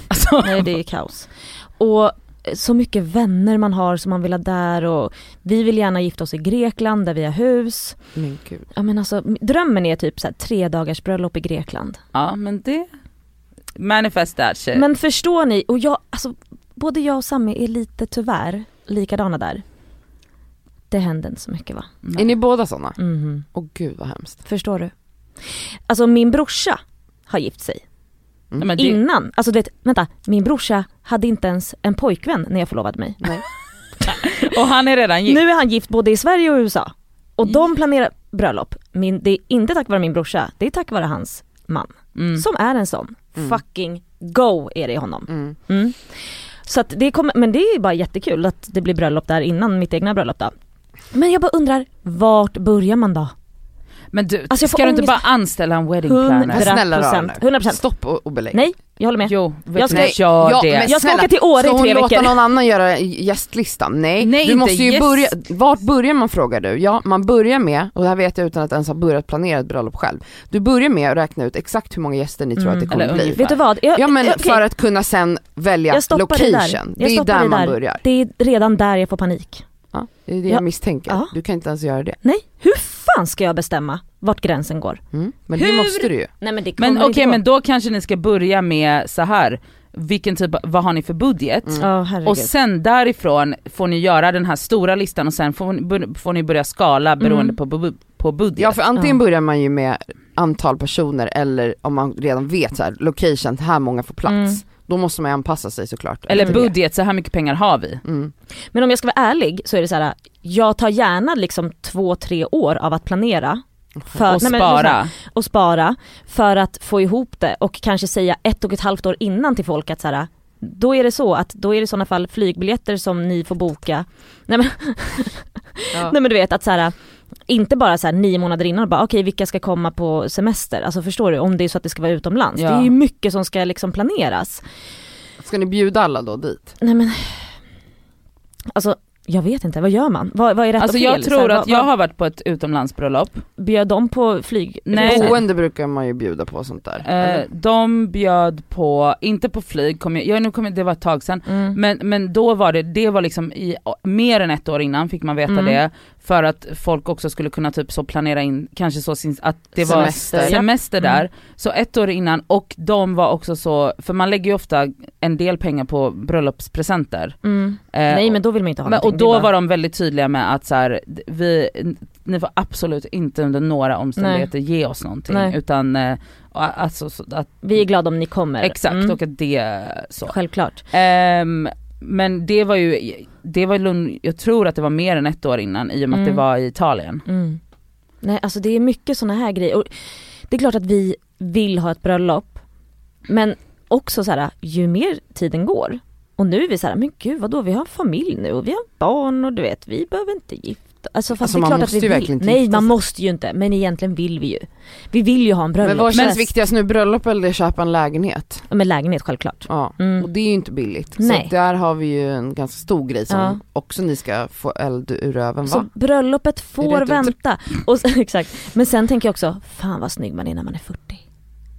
Speaker 3: Alltså,
Speaker 4: Nej det är kaos. Och eh, så mycket vänner man har som man vill ha där och vi vill gärna gifta oss i Grekland där vi har hus.
Speaker 2: Men gud.
Speaker 4: Ja men alltså m- drömmen är typ så här, tre dagars bröllop i Grekland.
Speaker 3: ja men det, manifest that shit.
Speaker 4: Men förstår ni, och jag, alltså både jag och Sami är lite tyvärr likadana där. Det händer inte så mycket va?
Speaker 3: Mm.
Speaker 2: Är ni båda sådana?
Speaker 4: Mhm.
Speaker 2: Åh gud vad hemskt.
Speaker 4: Förstår du? Alltså min brorsa har gift sig
Speaker 3: Nej, men det,
Speaker 4: innan, alltså du vet, vänta, min brorsa hade inte ens en pojkvän när jag förlovade mig.
Speaker 3: och han är redan gift.
Speaker 4: Nu är han gift både i Sverige och USA. Och de planerar bröllop. Min, det är inte tack vare min brorsa, det är tack vare hans man.
Speaker 3: Mm.
Speaker 4: Som är en sån. Fucking go är det i honom.
Speaker 2: Mm.
Speaker 4: Mm. Så att det kommer, men det är ju bara jättekul att det blir bröllop där innan mitt egna bröllop då. Men jag bara undrar, vart börjar man då?
Speaker 3: Men du,
Speaker 4: Alltså, jag får
Speaker 3: ska du inte
Speaker 4: ångest.
Speaker 3: bara anställa en wedding
Speaker 4: Hundra-
Speaker 3: planner? Alltså,
Speaker 2: Men snälla rara nu.
Speaker 4: 100%.
Speaker 2: Stopp och, och belägg.
Speaker 4: Nej, jag håller med.
Speaker 3: Jo, vet
Speaker 4: Jag
Speaker 3: du
Speaker 4: ska-
Speaker 3: vad, gör
Speaker 2: Ja,
Speaker 3: det.
Speaker 2: men
Speaker 4: Jag ska
Speaker 2: snälla,
Speaker 4: åka till Åre
Speaker 2: ska
Speaker 4: i
Speaker 2: hon
Speaker 4: tre
Speaker 2: låta
Speaker 4: veckor.
Speaker 2: någon annan göra gästlistan? Nej,
Speaker 3: Nej,
Speaker 2: du
Speaker 3: inte
Speaker 2: måste ju
Speaker 3: gäst.
Speaker 2: börja, vart börjar man frågar du? Ja, man börjar med, och det här vet jag utan att ens ha börjat planera ett bröllop själv. Du börjar med att räkna ut exakt hur många gäster ni tror att det kommer
Speaker 3: Eller
Speaker 2: bli.
Speaker 3: ungefär.
Speaker 4: Mm. Vet du vad? Jag,
Speaker 2: Ja men
Speaker 4: okej,
Speaker 2: för att kunna sen välja
Speaker 4: jag stoppar dig
Speaker 2: location.
Speaker 4: Där. Jag
Speaker 2: Det är
Speaker 4: stoppar
Speaker 2: där
Speaker 4: dig
Speaker 2: man börjar.
Speaker 4: Det är redan där jag får panik.
Speaker 2: Ja, det är det
Speaker 4: Ja.
Speaker 2: jag misstänker.
Speaker 4: Ja.
Speaker 2: Du kan inte ens göra det.
Speaker 4: Nej, hur fan ska jag bestämma vart gränsen går?
Speaker 2: Mm. Men
Speaker 4: Hur?
Speaker 2: det måste du ju.
Speaker 4: Nej men det kommer
Speaker 3: Men okej,
Speaker 4: inte gå.
Speaker 3: men då kanske ni ska börja med så här. vilken typ, av- vad har ni för budget?
Speaker 4: Mm. Ja herregud.
Speaker 3: Och sen därifrån får ni göra den här stora listan och sen får ni, bör- får ni börja skala beroende
Speaker 4: Mm.
Speaker 3: på, bu- på budget.
Speaker 2: Ja för antingen
Speaker 4: Ja.
Speaker 2: börjar man ju med antal personer eller om man redan vet så här, location, här många får plats.
Speaker 4: Mm.
Speaker 2: Då måste man ju anpassa sig såklart.
Speaker 3: Eller
Speaker 2: efter det.
Speaker 3: budget, så här mycket pengar har vi.
Speaker 2: Mm.
Speaker 4: Men om jag ska vara ärlig så är det så här, jag tar gärna liksom två, tre år av att planera.
Speaker 2: Mm.
Speaker 4: För,
Speaker 3: och
Speaker 4: nej, men så här,
Speaker 3: spara.
Speaker 4: och spara för att få ihop det och kanske säga ett och ett halvt år innan till folk att så här, då är det så att då är det i sådana fall flygbiljetter som ni får boka. Nej men,
Speaker 3: Ja.
Speaker 4: nej, men du vet att så här, inte bara så här nio månader innan och bara okej vilka ska komma på semester? Alltså förstår du om det är så att det ska vara utomlands.
Speaker 3: Ja.
Speaker 4: Det är ju mycket som ska liksom planeras.
Speaker 2: Ska ni bjuda alla då dit?
Speaker 4: Nej men, alltså jag vet inte, vad gör man? Vad, vad är rätt
Speaker 3: Alltså
Speaker 4: och fel?
Speaker 3: jag
Speaker 4: Så här,
Speaker 3: tror att
Speaker 4: vad,
Speaker 3: jag
Speaker 4: vad,
Speaker 3: har varit på ett utomlandsbröllop.
Speaker 4: Bjöd de på Mm. flyg?
Speaker 3: Nej.
Speaker 4: resor?
Speaker 2: Boende brukar man ju bjuda på och sånt där.
Speaker 3: Eh,
Speaker 2: Eller?
Speaker 3: de bjöd på, inte på flyg, kom jag, jag, nu kommer- det var ett tag sedan,
Speaker 4: Mm.
Speaker 3: Men, men då var det, det var liksom i, mer än ett år innan fick man veta
Speaker 4: Mm.
Speaker 3: det. För att folk också skulle kunna typ så planera in, kanske så sin, att det var
Speaker 2: Semester.
Speaker 3: semester
Speaker 4: Mm.
Speaker 3: där. Så ett år innan och de var också så, för man lägger ju ofta en del pengar på bröllopspresenter.
Speaker 4: Mm.
Speaker 3: Eh,
Speaker 4: Nej men då vill man inte ha
Speaker 3: men,
Speaker 4: någonting.
Speaker 3: och
Speaker 4: Det är
Speaker 3: då
Speaker 4: bara-
Speaker 3: var de väldigt tydliga med att så här, d- vi, ni får absolut inte under några omständigheter ge oss någonting.
Speaker 4: Nej.
Speaker 3: Utan eh, alltså, så, att,
Speaker 4: Vi är glada om ni kommer.
Speaker 3: exakt,
Speaker 4: Mm.
Speaker 3: och att det så.
Speaker 4: Självklart.
Speaker 3: Ehm, Men det var ju, det var Lund, jag tror att det var mer än ett år innan i och med att
Speaker 4: Mm.
Speaker 3: det var i Italien.
Speaker 4: Mm. Nej alltså det är mycket sådana här grejer. Och det är klart att vi vill ha ett bröllop. Men också så här, ju mer tiden går. Och nu är vi så här, men gud vadå vi har familj nu och vi har barn och du vet vi behöver inte gifta Alltså fast
Speaker 2: Alltså,
Speaker 4: det är
Speaker 2: man
Speaker 4: klart
Speaker 2: måste
Speaker 4: att vi
Speaker 2: ju
Speaker 4: vill.
Speaker 2: verkligen inte
Speaker 4: Nej
Speaker 2: gifta
Speaker 4: man
Speaker 2: sig.
Speaker 4: måste ju inte men egentligen vill vi ju. Vi vill ju ha en
Speaker 2: Men vad
Speaker 4: bröllopsfest.
Speaker 2: känns viktigast nu, bröllop eller köpa en lägenhet?
Speaker 4: Ja, men lägenhet självklart.
Speaker 2: Ja.
Speaker 4: Mm.
Speaker 2: Och det är ju inte billigt.
Speaker 4: Nej.
Speaker 2: Så där har vi ju en ganska stor grej som
Speaker 4: Ja.
Speaker 2: också ni ska få eld ur röven va?
Speaker 4: Så bröllopet
Speaker 2: Är
Speaker 4: får
Speaker 2: det ett uttryck?
Speaker 4: vänta. Och, exakt. Men sen tänker jag också, fan vad snygg man är när man är 40.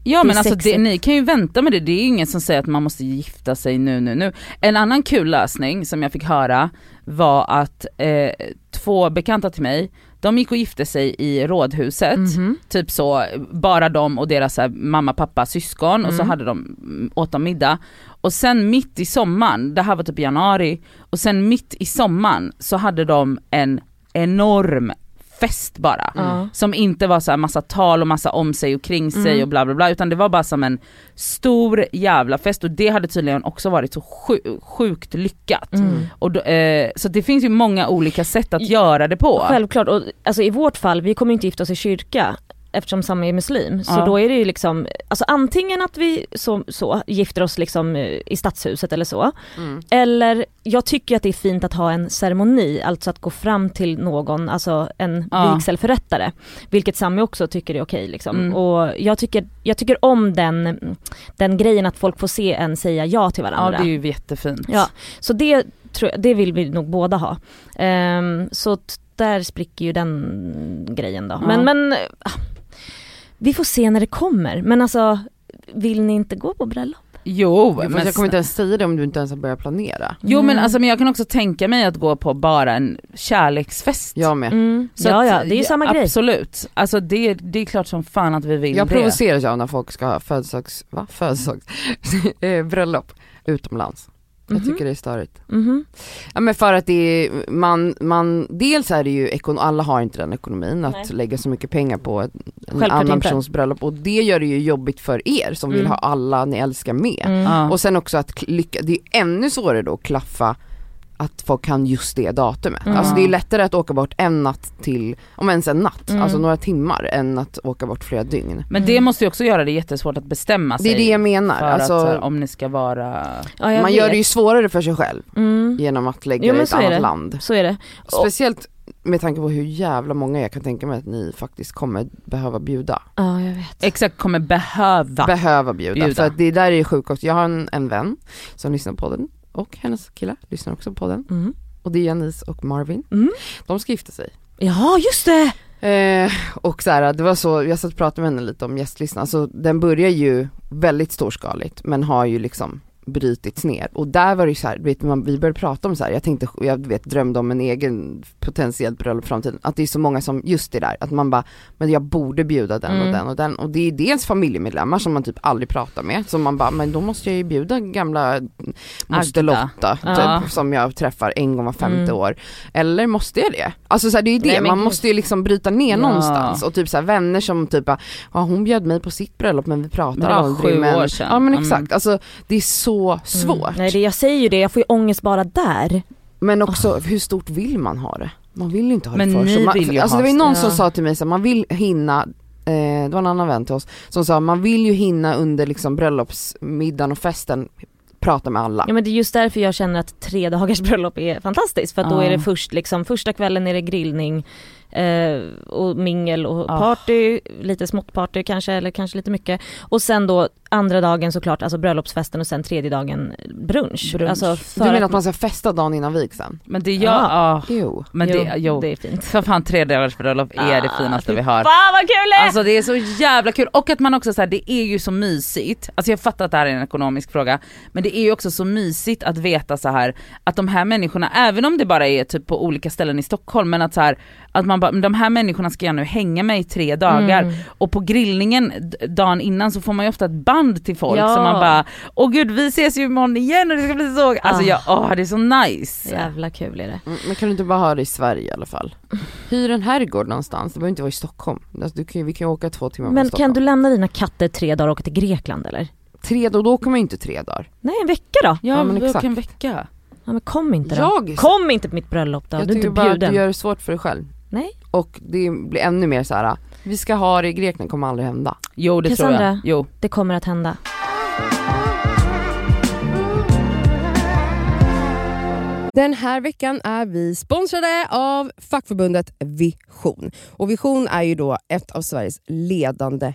Speaker 3: Ja
Speaker 4: Det
Speaker 3: men
Speaker 4: är
Speaker 3: alltså det,
Speaker 4: sexigt.
Speaker 3: ni kan ju vänta med det, det är ju ingen som säger att man måste gifta sig nu nu nu. En annan kul lösning som jag fick höra var att eh, två bekanta till mig, de gick och gifte sig i rådhuset,
Speaker 4: Mm.
Speaker 3: typ så, bara de och deras så här, mamma, pappa, syskon och så hade de, mm, åt de middag. Och sen mitt i sommaren, det här var typ i januari, och sen mitt i sommaren så hade de en enorm fest bara.
Speaker 4: Ja.
Speaker 3: Som inte var så här massa tal och massa om sig och kring sig
Speaker 4: Mm.
Speaker 3: och bla bla bla utan det var bara som en stor jävla fest och det hade tydligen också varit så sju- sjukt lyckat.
Speaker 4: Mm.
Speaker 3: Och då, eh, så det finns ju många olika sätt att göra det på.
Speaker 4: Självklart, och, alltså i vårt fall, vi kommer ju inte gifta oss i kyrka eftersom Sami är muslim. Så
Speaker 3: Ja.
Speaker 4: då är det ju liksom, alltså antingen att vi så, så, gifter oss liksom eh, i stadshuset eller så.
Speaker 2: Mm.
Speaker 4: Eller, jag tycker att det är fint att ha en ceremoni, alltså att gå fram till någon, alltså en
Speaker 3: Ja.
Speaker 4: vigselförrättare. Vilket Sami också tycker är okej liksom.
Speaker 3: Mm.
Speaker 4: Och jag tycker, jag tycker om den, den grejen att folk får se en säga ja till
Speaker 3: Ja
Speaker 4: varandra.
Speaker 3: det är ju jättefint.
Speaker 4: Ja, så det, tror jag, det vill vi nog båda ha. Ehm, så t- där spricker ju den grejen då.
Speaker 3: Ja.
Speaker 4: Men, men ah, vi får se när det kommer. Men alltså, vill ni inte gå på bröllop?
Speaker 3: Jo,
Speaker 2: Gud, fast
Speaker 3: men
Speaker 2: jag kommer inte ens säga det om du inte ens har börjat planera.
Speaker 3: Jo men
Speaker 4: Mm.
Speaker 3: alltså men jag kan också tänka mig att gå på bara en kärleksfest.
Speaker 2: Jag med.
Speaker 4: Mm.
Speaker 3: Så
Speaker 4: ja,
Speaker 3: att- eh,
Speaker 4: ja, det är ju samma grej.
Speaker 3: Absolut, alltså det, det är klart som fan att vi vill
Speaker 2: Jag
Speaker 3: det.
Speaker 2: provoceras av när folk ska ha födelsedags, va? Födelsedags, eh, bröllop utomlands. Jag tycker det är störigt.
Speaker 4: Mhm.
Speaker 2: Ja men för att det är, man, man, dels är det ju, ekon, alla har inte den ekonomin att
Speaker 4: Nej.
Speaker 2: lägga så mycket pengar på en
Speaker 4: Självklart
Speaker 2: annan
Speaker 4: inte.
Speaker 2: persons bröllop och det gör det ju jobbigt för er som vill
Speaker 4: Mm.
Speaker 2: ha alla ni älskar med.
Speaker 4: Mm.
Speaker 3: Ja.
Speaker 2: Och sen också att kl- lycka, det är ännu svårare då att klaffa att folk kan just det datumet.
Speaker 4: Mm.
Speaker 2: Alltså det är lättare att åka bort en natt till, om ens en natt,
Speaker 4: Mm.
Speaker 2: alltså några timmar än att åka bort flera dygn.
Speaker 3: Men det måste ju också göra det jättesvårt att bestämma sig.
Speaker 2: Det är det jag menar,
Speaker 3: För att, eh,
Speaker 2: alltså,
Speaker 3: så här, om ni ska vara...
Speaker 4: Ja, jag
Speaker 2: man gör
Speaker 4: vet.
Speaker 2: det ju svårare för sig själv
Speaker 4: Mm.
Speaker 2: genom att lägga
Speaker 4: Jo,
Speaker 2: det i
Speaker 4: men
Speaker 2: ett
Speaker 4: så är
Speaker 2: annat
Speaker 4: det.
Speaker 2: land.
Speaker 4: Så är det.
Speaker 2: Speciellt med tanke på hur jävla många jag kan tänka mig att ni faktiskt kommer behöva bjuda.
Speaker 4: Ja, jag vet.
Speaker 3: Exakt, kommer behöva.
Speaker 2: Behöva bjuda,
Speaker 3: Bjuda.
Speaker 2: för att det där är ju sjukt också. Jag har en, en vän som lyssnar på den och hennes kille lyssnar också på den.
Speaker 4: Mm.
Speaker 2: Och det är Janice och Marvin.
Speaker 4: Mm.
Speaker 2: De ska gifta sig.
Speaker 4: Ja, just det!
Speaker 2: Eh, och så här, det var så, jag satt och pratade med henne lite om gästlistan, alltså den börjar ju väldigt storskaligt men har ju liksom brytits ner och där var det ju så här, du vet, man, vi började prata om så här, jag tänkte, jag vet drömde om en egen potentiell bröllop i framtiden, att det är så många som, just det där, att man bara, men jag borde bjuda den
Speaker 4: Mm.
Speaker 2: och den och den och det är ju dels familjemedlemmar som man typ aldrig pratar med, som man bara, men då måste jag ju bjuda gamla moster
Speaker 3: Agda.
Speaker 2: Lotta typ,
Speaker 3: Ja.
Speaker 2: som jag träffar en gång var femte
Speaker 4: Mm.
Speaker 2: år, eller måste jag det? Alltså så här, det är ju
Speaker 4: Nej,
Speaker 2: det,
Speaker 4: men
Speaker 2: man
Speaker 4: gud.
Speaker 2: måste ju liksom bryta ner
Speaker 3: Ja.
Speaker 2: någonstans och typ så här vänner som typ bara, ja hon bjöd mig på sitt bröllop men vi pratar
Speaker 3: Men det var
Speaker 2: aldrig
Speaker 3: sju
Speaker 2: men...
Speaker 3: år sedan.
Speaker 2: Ja men
Speaker 3: Mm.
Speaker 2: exakt, alltså det är så
Speaker 4: Mm.
Speaker 2: svårt.
Speaker 4: Nej, det, jag säger ju det, jag får ju ångest bara där.
Speaker 2: Men också hur stort vill man ha det? Man vill ju inte ha
Speaker 3: Men
Speaker 2: det för sig.
Speaker 3: ni
Speaker 2: Man,
Speaker 3: vill ju
Speaker 2: alltså
Speaker 3: ha
Speaker 2: det var ju någon
Speaker 4: det.
Speaker 2: som
Speaker 4: Ja.
Speaker 2: sa till mig så här, man vill hinna Eh, det var en annan vän till oss som sa man vill ju hinna under liksom bröllopsmiddagen och festen prata med alla.
Speaker 4: Ja men det är just därför jag känner att tre dagars bröllop är fantastiskt för att då
Speaker 3: Ja.
Speaker 4: är det först liksom, första kvällen är det grillning eh, och mingel och
Speaker 3: Ah.
Speaker 4: party, lite smått party kanske eller kanske lite mycket. Och sen då andra dagen såklart, alltså bröllopsfesten och sen tredje dagen eh, brunch.
Speaker 3: Brunch.
Speaker 4: Alltså
Speaker 2: Du
Speaker 4: för
Speaker 2: menar att man ska festa dagen innan vigseln?
Speaker 3: Men det gör...
Speaker 4: Ja.
Speaker 3: Ja.
Speaker 2: Jo.
Speaker 3: men
Speaker 4: jo,
Speaker 3: det, jo.
Speaker 4: det är fint.
Speaker 3: För fan tre dagars bröllop är det
Speaker 4: Ah,
Speaker 3: finaste vi har.
Speaker 4: Fan vad kul det är!
Speaker 3: Alltså det är så jävla kul och att man också såhär, det är ju så mysigt, alltså jag fattar att det här är en ekonomisk fråga, men det är ju också så mysigt att veta så här att de här människorna, även om det bara är typ på olika ställen i Stockholm, men att så här, att man bara, men de här människorna ska jag nu hänga med i tre dagar
Speaker 4: Mm.
Speaker 3: och på grillningen d- dagen innan så får man ju ofta ett band till folk
Speaker 4: Ja.
Speaker 3: så man bara, åh gud vi ses ju imorgon igen och det ska bli så, alltså
Speaker 4: Ah.
Speaker 3: jag, åh det är så nice.
Speaker 4: Jävla kul är det.
Speaker 2: Mm, Men kan du inte bara ha det i Sverige i alla fall? Hyr en herrgård någonstans, det behöver inte vara i Stockholm. Alltså, du kan, ju- vi kan ju åka två timmar
Speaker 4: Men
Speaker 2: från
Speaker 4: kan
Speaker 2: Stockholm.
Speaker 4: du lämna dina katter tre dagar och åka till Grekland eller?
Speaker 2: Tre dagar, då åker man ju inte tre dagar.
Speaker 4: Nej en vecka då?
Speaker 3: Ja,
Speaker 2: Ja, men
Speaker 3: vi åker
Speaker 2: exakt.
Speaker 3: en vecka.
Speaker 4: Ja, men kom inte då.
Speaker 2: Jag,
Speaker 4: Kom inte på mitt bröllop då,
Speaker 2: jag
Speaker 4: du är inte
Speaker 2: tycker bara att du
Speaker 4: bjuden.
Speaker 2: gör det svårt för dig själv.
Speaker 4: Nej.
Speaker 2: Och det blir ännu mer så här. vi ska ha det i Grekland, kommer aldrig hända.
Speaker 3: Jo det tror jag.
Speaker 4: Cassandra.
Speaker 3: Jo.
Speaker 4: Det kommer att hända.
Speaker 5: Den här veckan är vi sponsrade av fackförbundet Vision. Och Vision är ju då ett av Sveriges ledande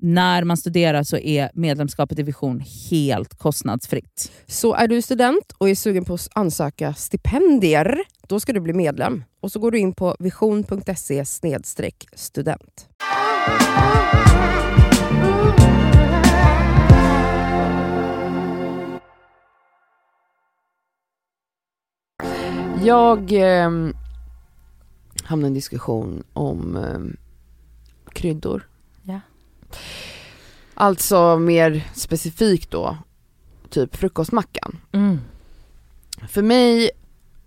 Speaker 3: när man studerar så är medlemskapet i Vision helt kostnadsfritt.
Speaker 5: Så är du student och är sugen på att ansöka stipendier, då ska du bli medlem. Och så går du in på vision.se snedstreck student.
Speaker 2: Jag ehm, hamnade i en diskussion om ehm, kryddor.
Speaker 3: Ja.
Speaker 2: Alltså mer specifikt då, typ frukostmackan.
Speaker 4: Mm.
Speaker 2: För mig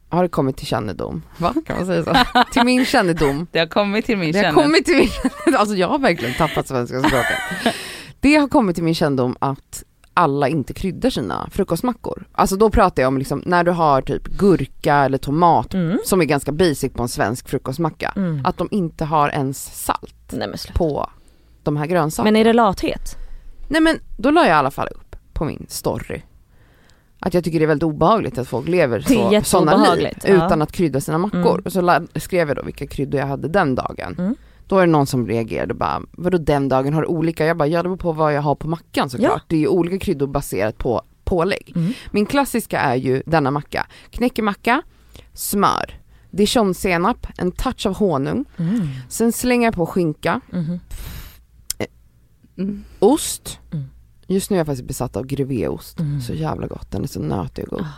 Speaker 2: har det kommit till kännedom. Va? Kan man säga så? till min kännedom.
Speaker 3: Det har kommit till min
Speaker 2: Det har kommit till min kännedom. Alltså jag har verkligen tappat svenska språket. Det har kommit till min kännedom att alla inte kryddar sina frukostmackor. Alltså då pratar jag om liksom när du har typ gurka eller tomat
Speaker 4: Mm.
Speaker 2: som är ganska basic på en svensk frukostmacka.
Speaker 4: Mm.
Speaker 2: Att de inte har ens salt
Speaker 4: Nej, men, sluta.
Speaker 2: på de här grönsakerna.
Speaker 4: men är det lathet?
Speaker 2: Nej men då la jag i alla fall upp på min story att jag tycker det är väldigt obehagligt att folk lever
Speaker 4: Det är
Speaker 2: så, sådana liv
Speaker 4: jätteobehagligt, ja.
Speaker 2: utan att krydda sina mackor.
Speaker 4: Mm.
Speaker 2: Och så la, skrev jag då vilka kryddor jag hade den dagen.
Speaker 4: Mm.
Speaker 2: Då är det någon som reagerade och bara, vadå den dagen har du olika? Jag bara, ja det beror på vad jag har på mackan såklart. Det är ju olika kryddor baserat på pålägg.
Speaker 4: Mm.
Speaker 2: Min klassiska är ju denna macka, knäckemacka, smör, dijonsenap, en touch av honung,
Speaker 4: Mm.
Speaker 2: sen slänger jag på skinka,
Speaker 4: Mhm.
Speaker 2: ost.
Speaker 4: Mm.
Speaker 2: Just nu är jag faktiskt besatt av grevéost.
Speaker 4: Mm.
Speaker 2: Så jävla gott, den är så nötig och god.
Speaker 4: Ah.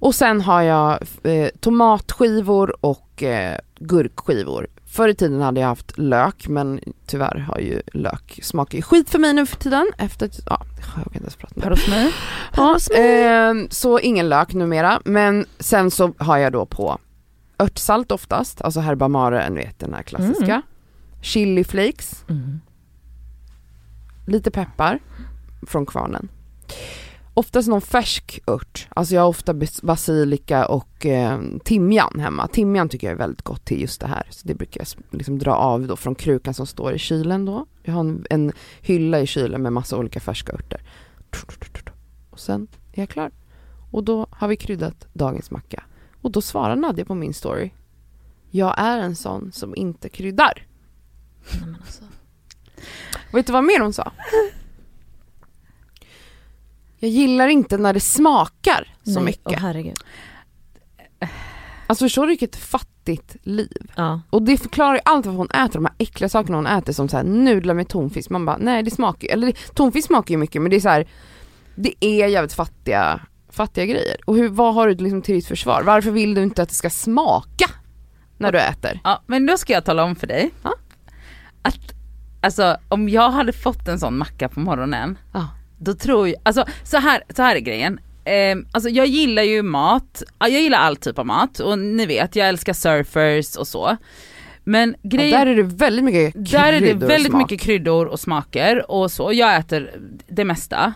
Speaker 2: Och sen har jag eh, tomatskivor och eh, gurkskivor. Förr i tiden hade jag haft lök men tyvärr har ju lök smak i skit för mig nu för tiden. Efter, ja, jag kan inte ens prata med.
Speaker 3: mig.
Speaker 2: Ja, eh, så ingen lök numera men sen så har jag då på örtsalt oftast, alltså herba mare, ni vet den här klassiska.
Speaker 4: Mm.
Speaker 2: Chili flakes
Speaker 4: Mm.
Speaker 2: lite peppar från kvarnen. Oftast någon färsk ört, alltså jag har ofta bas- basilika och eh, timjan hemma. Timjan tycker jag är väldigt gott till just det här, så det brukar jag s- liksom dra av då från krukan som står i kylen då. Jag har en, en hylla i kylen med massa olika färska örter. Och sen är jag klar. Och då har vi kryddat dagens macka. Och då svarar Nadja på min story. Jag är en sån som inte kryddar. Vet du vad mer hon sa? Jag gillar inte när det smakar så
Speaker 4: Nej,
Speaker 2: mycket.
Speaker 4: Åh herregud.
Speaker 2: Alltså förstår du vilket fattigt liv?
Speaker 4: Ja.
Speaker 2: Och det förklarar ju allt varför hon äter de här äckliga sakerna hon äter som så här nudlar med tonfisk. Man bara nej det smakar ju, eller det- tonfisk smakar ju mycket men det är så här, det är jävligt fattiga, fattiga grejer. Och hur, vad har du liksom till ditt försvar? Varför vill du inte att det ska smaka när du äter?
Speaker 3: Ja, men då ska jag tala om för dig.
Speaker 2: Ja.
Speaker 3: Att alltså, om jag hade fått en sån macka på morgonen,
Speaker 2: Ja.
Speaker 3: då tror jag, alltså så här, så här är grejen. Ehm, alltså jag gillar ju mat, ja, jag gillar all typ av mat och ni vet jag älskar surfers och så. Men
Speaker 2: Ja,
Speaker 3: grejen
Speaker 2: där är det väldigt mycket kryddor
Speaker 3: Där är det
Speaker 2: och
Speaker 3: väldigt
Speaker 2: smak.
Speaker 3: mycket kryddor och smaker och så. Jag äter det mesta.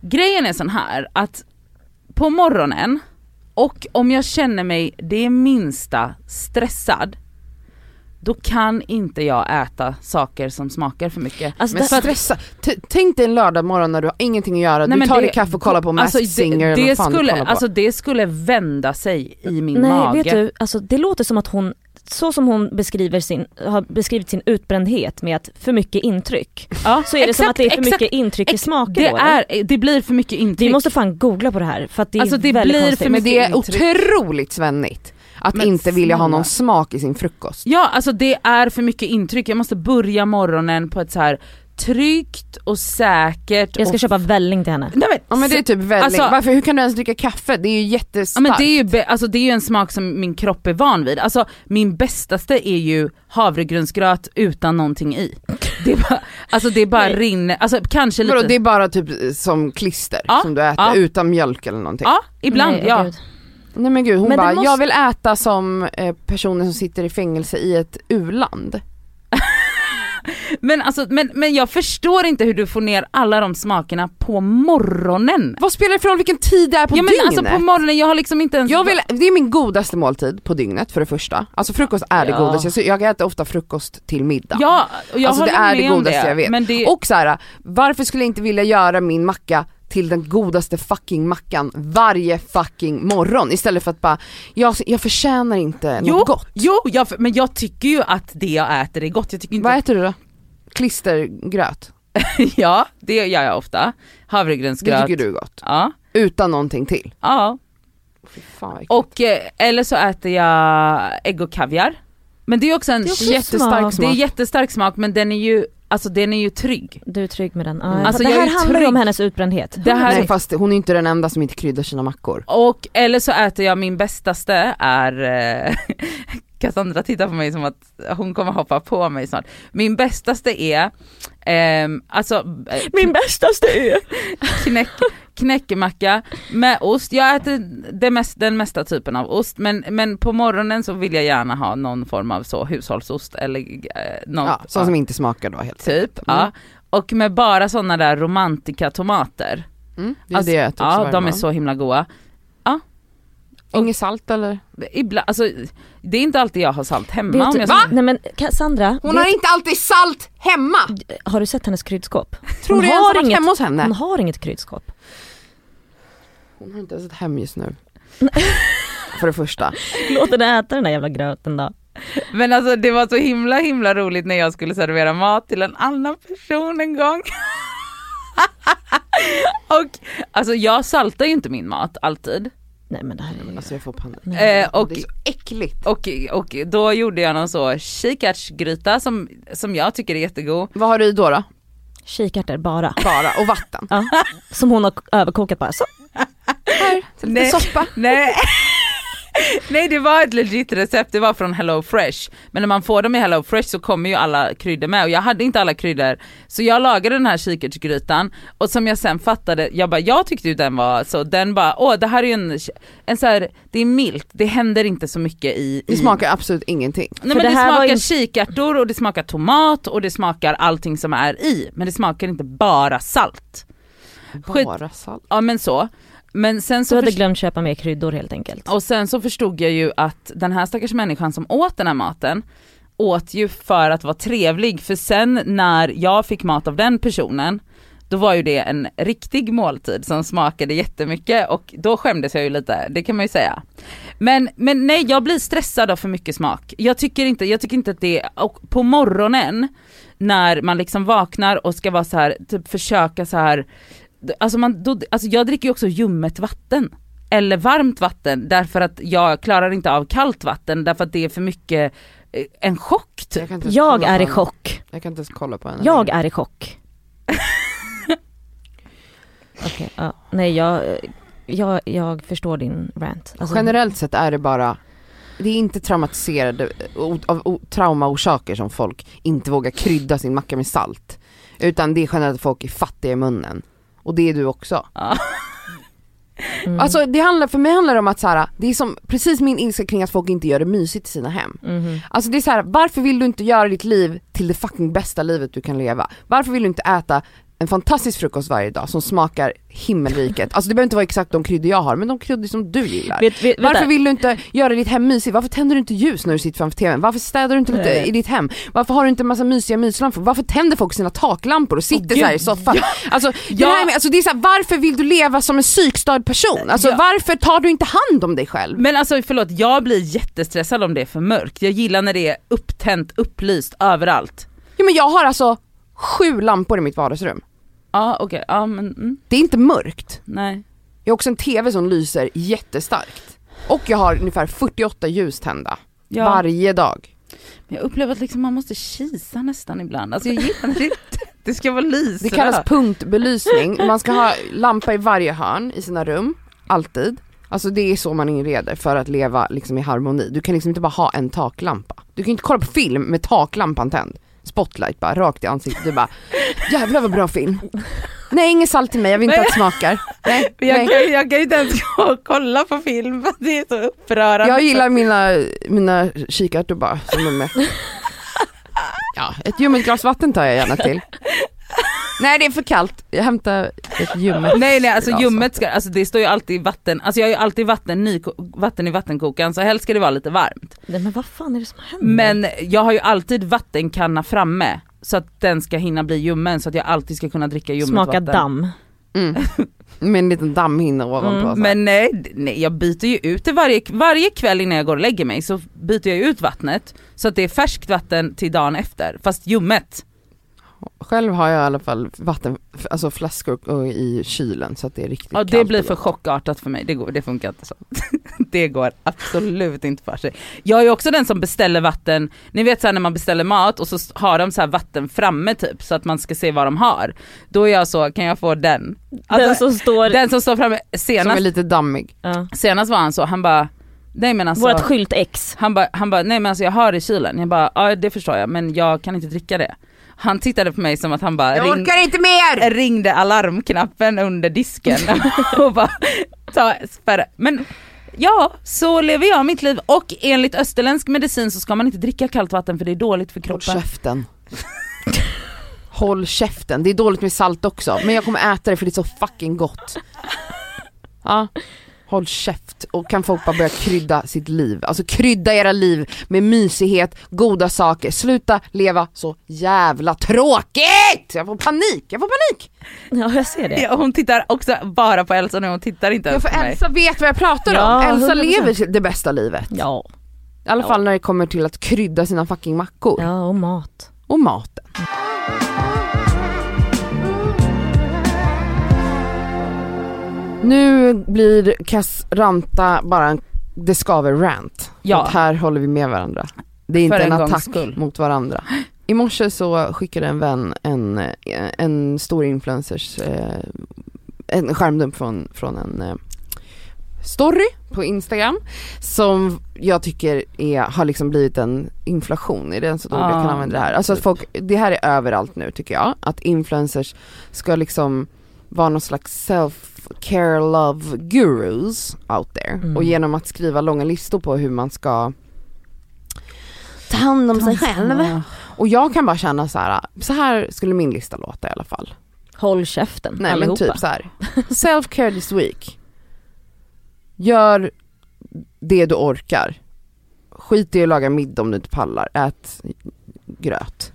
Speaker 3: Grejen är sån här att på morgonen och om jag känner mig det minsta stressad då kan inte jag äta saker som smakar för mycket.
Speaker 4: Alltså,
Speaker 2: Men
Speaker 4: där-
Speaker 2: stressa, T- tänk dig en lördag morgon när du har ingenting att göra,
Speaker 3: Nej,
Speaker 2: du
Speaker 3: men
Speaker 2: tar
Speaker 3: det-
Speaker 2: dig kaffe och kollar på Masked
Speaker 3: Alltså,
Speaker 2: Singer
Speaker 3: det,
Speaker 2: eller
Speaker 3: det,
Speaker 2: vad fan du
Speaker 3: skulle,
Speaker 2: kollar på.
Speaker 3: alltså, det skulle vända sig i min
Speaker 4: Nej
Speaker 3: mage.
Speaker 4: vet du, alltså, det låter som att hon, så som hon beskriver sin, har beskrivit sin utbrändhet med att för mycket intryck.
Speaker 3: Ja,
Speaker 4: Så är det som
Speaker 3: exakt,
Speaker 4: att det är för
Speaker 3: exakt.
Speaker 4: mycket intryck i
Speaker 3: Ex-
Speaker 4: smaker
Speaker 3: det,
Speaker 4: då, eller?
Speaker 3: är, det blir för mycket intryck.
Speaker 4: Vi måste fan googla på det här för att det är
Speaker 3: Alltså, det
Speaker 4: väldigt
Speaker 3: blir
Speaker 4: konstigt.
Speaker 3: för
Speaker 2: men det är
Speaker 3: mycket
Speaker 2: otroligt svennigt att
Speaker 3: Men
Speaker 2: inte vilja ha
Speaker 3: snälla.
Speaker 2: någon smak i sin frukost.
Speaker 3: Ja, alltså det är för mycket intryck. Jag måste börja morgonen på ett så här tryggt och säkert.
Speaker 4: Jag ska
Speaker 3: och...
Speaker 4: köpa välling till henne.
Speaker 3: Nej, men,
Speaker 2: Ja men det är typ välling,
Speaker 3: Alltså-
Speaker 2: Varför, hur kan du ens dricka kaffe? Det är ju
Speaker 3: Ja,
Speaker 2: jättestarkt.
Speaker 3: men det är ju be- alltså, det är ju en smak som min kropp är van vid. Alltså min bästaste är ju havregrynsgröt utan någonting i. Det är bara, alltså det är bara
Speaker 4: Nej.
Speaker 3: rinner, alltså kanske
Speaker 2: Vadå,
Speaker 3: lite...
Speaker 2: det är bara typ som klister
Speaker 3: Ja,
Speaker 2: som du äter
Speaker 3: ja.
Speaker 2: utan mjölk eller någonting.
Speaker 3: Ja, ibland
Speaker 4: Nej,
Speaker 3: ja.
Speaker 4: gud.
Speaker 2: Nej men gud hon
Speaker 4: Men det
Speaker 2: bara,
Speaker 4: måste-
Speaker 2: jag vill äta som eh, personer som sitter i fängelse i ett u-land.
Speaker 3: Men, alltså, men, men jag förstår inte hur du får ner alla de smakerna på morgonen.
Speaker 2: Vad spelar det för roll vilken tid det är på
Speaker 3: ja men
Speaker 2: dygnet?
Speaker 3: alltså på morgonen, jag har liksom inte ens...
Speaker 2: jag vill, det är min godaste måltid på dygnet för det första. Alltså frukost är det
Speaker 3: Ja.
Speaker 2: godaste, så jag äter ofta frukost till middag.
Speaker 3: Ja, och jag
Speaker 2: Alltså, det
Speaker 3: håller
Speaker 2: är det
Speaker 3: med om
Speaker 2: godaste jag vet.
Speaker 3: Men det...
Speaker 2: Och så här, varför skulle jag inte vilja göra min macka till den godaste fucking mackan varje fucking morgon istället för att bara, jag, jag förtjänar inte
Speaker 3: Jo,
Speaker 2: något gott.
Speaker 3: Jo, jag, men jag tycker ju att det jag äter är gott. Jag tycker
Speaker 2: Vad
Speaker 3: inte...
Speaker 2: äter du då? Klistergröt,
Speaker 3: ja, det gör jag ofta.
Speaker 2: det
Speaker 3: Havregrynsgröt.
Speaker 2: tycker du är gott.
Speaker 3: Ja,
Speaker 2: Utan någonting till.
Speaker 3: ja.
Speaker 2: Fy fan, vad äckligt.
Speaker 3: Och, eh, eller så äter jag ägg och kaviar. Men det är också en...
Speaker 4: Det är också
Speaker 2: Jättestark
Speaker 4: smak.
Speaker 2: smak.
Speaker 3: det är jättestark smak men den är ju, alltså den är ju trygg.
Speaker 4: Du är trygg med den. Ja,
Speaker 2: Mm.
Speaker 4: jag-
Speaker 3: Alltså,
Speaker 4: det
Speaker 3: jag
Speaker 4: här
Speaker 3: är
Speaker 4: handlar ju
Speaker 3: trygg.
Speaker 4: om hennes utbrändhet.
Speaker 3: Det här
Speaker 2: Nej,
Speaker 3: är,
Speaker 2: fast hon är inte den enda som inte kryddar sina mackor.
Speaker 3: och eller så äter jag min bästaste är, eh, Cassandra tittar på mig som att hon kommer hoppa på mig snart. Min bästaste är, ehm, alltså eh,
Speaker 4: Min bästaste är...
Speaker 3: knäck, knäckemacka med ost. Jag äter det mest, den mesta typen av ost men, men på morgonen så vill jag gärna ha någon form av så hushållsost eller eh, något.
Speaker 2: Ja, sånt som Mm. inte smakar då helt
Speaker 3: Typ, ja. Och med bara sådana där romantika tomater.
Speaker 2: mm, Det är
Speaker 3: Alltså,
Speaker 2: det jag äter också
Speaker 3: Ja
Speaker 2: varje
Speaker 3: de är
Speaker 2: morgon.
Speaker 3: så himla goda.
Speaker 2: Inget salt eller?
Speaker 3: Ibland, alltså, det är inte alltid jag har salt hemma
Speaker 4: Vet
Speaker 3: om
Speaker 2: typ
Speaker 4: du,
Speaker 3: jag
Speaker 4: typ- Nej men eh, Cassandra,
Speaker 2: Hon
Speaker 4: vet,
Speaker 2: har inte alltid salt hemma!
Speaker 4: har... du sett hennes kryddskåp?
Speaker 2: Tror
Speaker 4: hon
Speaker 2: du jag ens har
Speaker 4: har
Speaker 2: varit
Speaker 4: inget,
Speaker 2: hemma hos henne?
Speaker 4: hon har inget kryddskåp.
Speaker 2: Hon har inte ens ett hem just nu. För det första.
Speaker 4: Låt henne äta den där jävla gröten då.
Speaker 3: Men alltså det var så himla himla roligt när jag skulle servera mat till en annan person en gång. och alltså jag saltar ju inte min mat alltid.
Speaker 4: Nej men det här är
Speaker 2: Alltså jag får panik.
Speaker 4: Nej.
Speaker 3: Eh, och,
Speaker 2: Det är så äckligt.
Speaker 3: och, och då gjorde jag någon så kikärtsgryta som, som jag tycker är jättegod.
Speaker 2: Vad har du i då då?
Speaker 4: Kikärtor bara.
Speaker 2: Bara och vatten.
Speaker 4: Ja. Som hon har k- överkokat bara. Så.
Speaker 2: Här, till lite
Speaker 3: Nej.
Speaker 2: soppa.
Speaker 3: Nej. Nej det var ett legit recept, det var från Hello Fresh. Men när man får dem i Hello Fresh så kommer ju alla kryddor med och jag hade inte alla kryddor. Så jag lagade den här kikärtsgrytan och som jag sen fattade, jag bara jag tyckte ju den var så, den bara åh det här är ju en, en så här, det är milt, det händer inte så mycket i...
Speaker 2: Det
Speaker 3: i
Speaker 2: smakar absolut ingenting.
Speaker 3: Nej
Speaker 4: För
Speaker 3: men det,
Speaker 4: det här var
Speaker 3: smakar
Speaker 4: ju-
Speaker 3: kikärtor och det smakar tomat och det smakar allting som är i. Men det smakar inte bara salt. Skit-
Speaker 2: Bara salt.
Speaker 3: Ja men så. Men sen
Speaker 4: Du
Speaker 3: så
Speaker 4: hade
Speaker 3: förstod-
Speaker 4: glömt köpa mer kryddor helt enkelt.
Speaker 3: Och sen så förstod jag ju att den här stackars människan som åt den här maten åt ju för att vara trevlig för sen när jag fick mat av den personen då var ju det en riktig måltid som smakade jättemycket och då skämdes jag ju lite, det kan man ju säga. Men, men nej jag blir stressad av för mycket smak. Jag tycker inte, jag tycker inte att det, och på morgonen när man liksom vaknar och ska vara så här, typ försöka så här alltså, man, då, alltså jag dricker ju också ljummet vatten eller varmt vatten därför att jag klarar inte av kallt vatten därför att det är för mycket eh, en chock typ.
Speaker 2: kan inte ens
Speaker 4: Jag
Speaker 2: kolla på
Speaker 4: är i
Speaker 2: henne.
Speaker 4: chock.
Speaker 2: Jag kan inte ens kolla på henne.
Speaker 4: Jag
Speaker 2: längre.
Speaker 4: är i chock. Okej, ja. Nej jag, eh, jag, jag förstår din rant. Alltså,
Speaker 2: Generellt sett är det bara det är inte traumatiserade, o, av o, traumaorsaker som folk inte vågar krydda sin macka med salt. Utan det är generellt att folk är fattiga i munnen. Och det är du också.
Speaker 4: Mm.
Speaker 2: Alltså det handlar, för mig handlar det om att så här, det är som precis min ilska kring att folk inte gör det mysigt i sina hem.
Speaker 4: Mhm.
Speaker 2: Alltså det är så här, varför vill du inte göra ditt liv till det fucking bästa livet du kan leva? Varför vill du inte äta en fantastisk frukost varje dag som smakar himmelriket? Alltså det behöver inte vara exakt de kryddor jag har, men de kryddor som du gillar.
Speaker 3: Vet, vet,
Speaker 2: Varför
Speaker 3: vänta.
Speaker 2: vill du inte göra ditt hem mysigt? Varför tänder du inte ljus när du sitter framför TVn? Varför städar du inte lite
Speaker 3: Nej.
Speaker 2: i ditt hem? Varför har du inte en massa mysiga myslampor? Varför tänder folk sina taklampor och sitter
Speaker 3: Åh,
Speaker 2: så här i
Speaker 3: gud.
Speaker 2: soffan? Alltså, det,
Speaker 3: Ja.
Speaker 2: här med, alltså, det är så här, varför vill du leva som en psykstörd person? Alltså
Speaker 3: Ja.
Speaker 2: varför tar du inte hand om dig själv?
Speaker 3: Men alltså förlåt, jag blir jättestressad om det är för mörkt. Jag gillar när det är upptänt, upplyst överallt.
Speaker 2: Jo, men jag har alltså sju lampor i mitt vardagsrum.
Speaker 3: Ja okej, ja men mm,
Speaker 2: Det är inte mörkt.
Speaker 3: nej.
Speaker 2: Jag har också en TV som lyser jättestarkt. Och jag har ungefär 48 ljus tända
Speaker 3: Ja.
Speaker 2: varje dag.
Speaker 3: Men Jag upplever att liksom man måste kisa nästan ibland. Alltså jag gillar det inte. Det ska vara lyser.
Speaker 2: Det kallas punktbelysning. Man ska ha lampa i varje hörn i sina rum, alltid. Alltså det är så man inreder för att leva liksom i harmoni. Du kan liksom inte bara ha en taklampa. Du kan inte kolla på film med taklampan tänd. Spotlight bara rakt i ansiktet. Du bara jävlar vad bra film. Nej inget salt till mig, jag vill inte
Speaker 3: Men-
Speaker 2: att det smakar. Nej, nej.
Speaker 3: jag, kan, jag kan ju inte ens gå och kolla på film för det är så upprörande.
Speaker 2: Jag gillar mina, mina kikärtor bara som de är. Ja, ett ljummet glas vatten tar jag gärna till. Nej det är för kallt, jag hämtar ett ljummet.
Speaker 3: Nej nej alltså
Speaker 2: glas
Speaker 3: ljummet ska, alltså det står ju alltid vatten, alltså jag har ju alltid vatten, ny, vatten i vattenkokaren så helst ska det vara lite varmt.
Speaker 4: Nej, men vad fan är det som
Speaker 2: Mm.
Speaker 4: händer?
Speaker 3: Men jag har ju alltid vattenkanna framme så att den ska hinna bli ljummen så att jag alltid ska kunna dricka ljummet
Speaker 4: Smaka
Speaker 3: vatten.
Speaker 4: damm.
Speaker 2: Mm. Med en liten dammhinna ovanpå.
Speaker 4: Mm,
Speaker 2: så här.
Speaker 3: Men nej, d- nej, jag byter ju ut det varje, varje kväll innan jag går och lägger mig så byter jag ut vattnet så att det är färskt vatten till dagen efter, fast ljummet.
Speaker 2: Själv har jag i alla fall vatten, alltså flaskor och- i kylen så att det är riktigt
Speaker 3: Ja, det
Speaker 2: kallt
Speaker 3: blir
Speaker 2: och
Speaker 3: för
Speaker 2: gott.
Speaker 3: chockartat för mig, det, går, det funkar inte så. det går absolut inte för sig. Jag är ju också den som beställer vatten, ni vet såhär när man beställer mat och så s- har de så här vatten framme typ så att man ska se vad de har. Då är jag så, kan jag få den?
Speaker 4: den
Speaker 3: Alltså,
Speaker 4: som står...
Speaker 3: den som står framme,
Speaker 2: Som är
Speaker 3: senast,
Speaker 2: lite dammig.
Speaker 4: ja.
Speaker 3: senast var han så, han bara, nej men alltså.
Speaker 4: Vårt skylt X.
Speaker 3: Han bara, han bara, nej men alltså jag har i kylen. Jag bara, ja det förstår jag men jag kan inte dricka det. Han tittade på mig som att han bara
Speaker 2: Jag
Speaker 3: ring,
Speaker 2: orkar inte mer!
Speaker 3: ringde alarmknappen under disken och bara ta, spärra. Men ja, så lever jag mitt liv och enligt österländsk medicin så ska man inte dricka kallt vatten för det är dåligt för
Speaker 2: Håll
Speaker 3: kroppen.
Speaker 2: käften. Håll käften, det är dåligt med salt också men jag kommer äta det för det är så fucking gott. Ja. Håll käft och kan folk bara börja krydda sitt liv. Alltså krydda era liv med mysighet, goda saker. Sluta leva så jävla tråkigt! Jag får panik, jag får panik!
Speaker 4: Ja, jag ser det.
Speaker 3: Ja, hon tittar också bara på Elsa nu, hon tittar inte
Speaker 2: Jag
Speaker 3: ens
Speaker 2: får
Speaker 3: på mig.
Speaker 2: Elsa vet vad jag pratar om.
Speaker 4: Ja,
Speaker 2: Elsa
Speaker 4: 100%.
Speaker 2: lever det bästa livet.
Speaker 4: Ja,
Speaker 2: I alla fall när det kommer till att krydda sina fucking mackor.
Speaker 4: ja och mat.
Speaker 2: Och maten. Nu blir Kass ranta bara en det skaver rant.
Speaker 3: Ja.
Speaker 2: Att här håller vi med varandra. Det är inte
Speaker 3: För
Speaker 2: en,
Speaker 3: en gångs
Speaker 2: attack
Speaker 3: skull.
Speaker 2: mot varandra. I morse så skickade en vän en, eh, en stor influencers, eh, en skärmdump från, från en eh, story på Instagram som jag tycker är, har liksom blivit en inflation, är det ens ett ord jag kan
Speaker 3: Ah,
Speaker 2: använda det här? Alltså att folk, det här är överallt nu tycker jag, att influencers ska liksom vara någon slags self-care love gurus out there
Speaker 4: Mm.
Speaker 2: och genom att skriva långa listor på hur man ska ta hand om sig själv. Och jag kan bara känna så här, så här skulle min lista låta i alla fall.
Speaker 4: Håll käften
Speaker 2: Nej
Speaker 4: allihopa.
Speaker 2: men typ så här. self-care this week. Gör det du orkar. Skit i att laga middag om du inte pallar, ät gröt.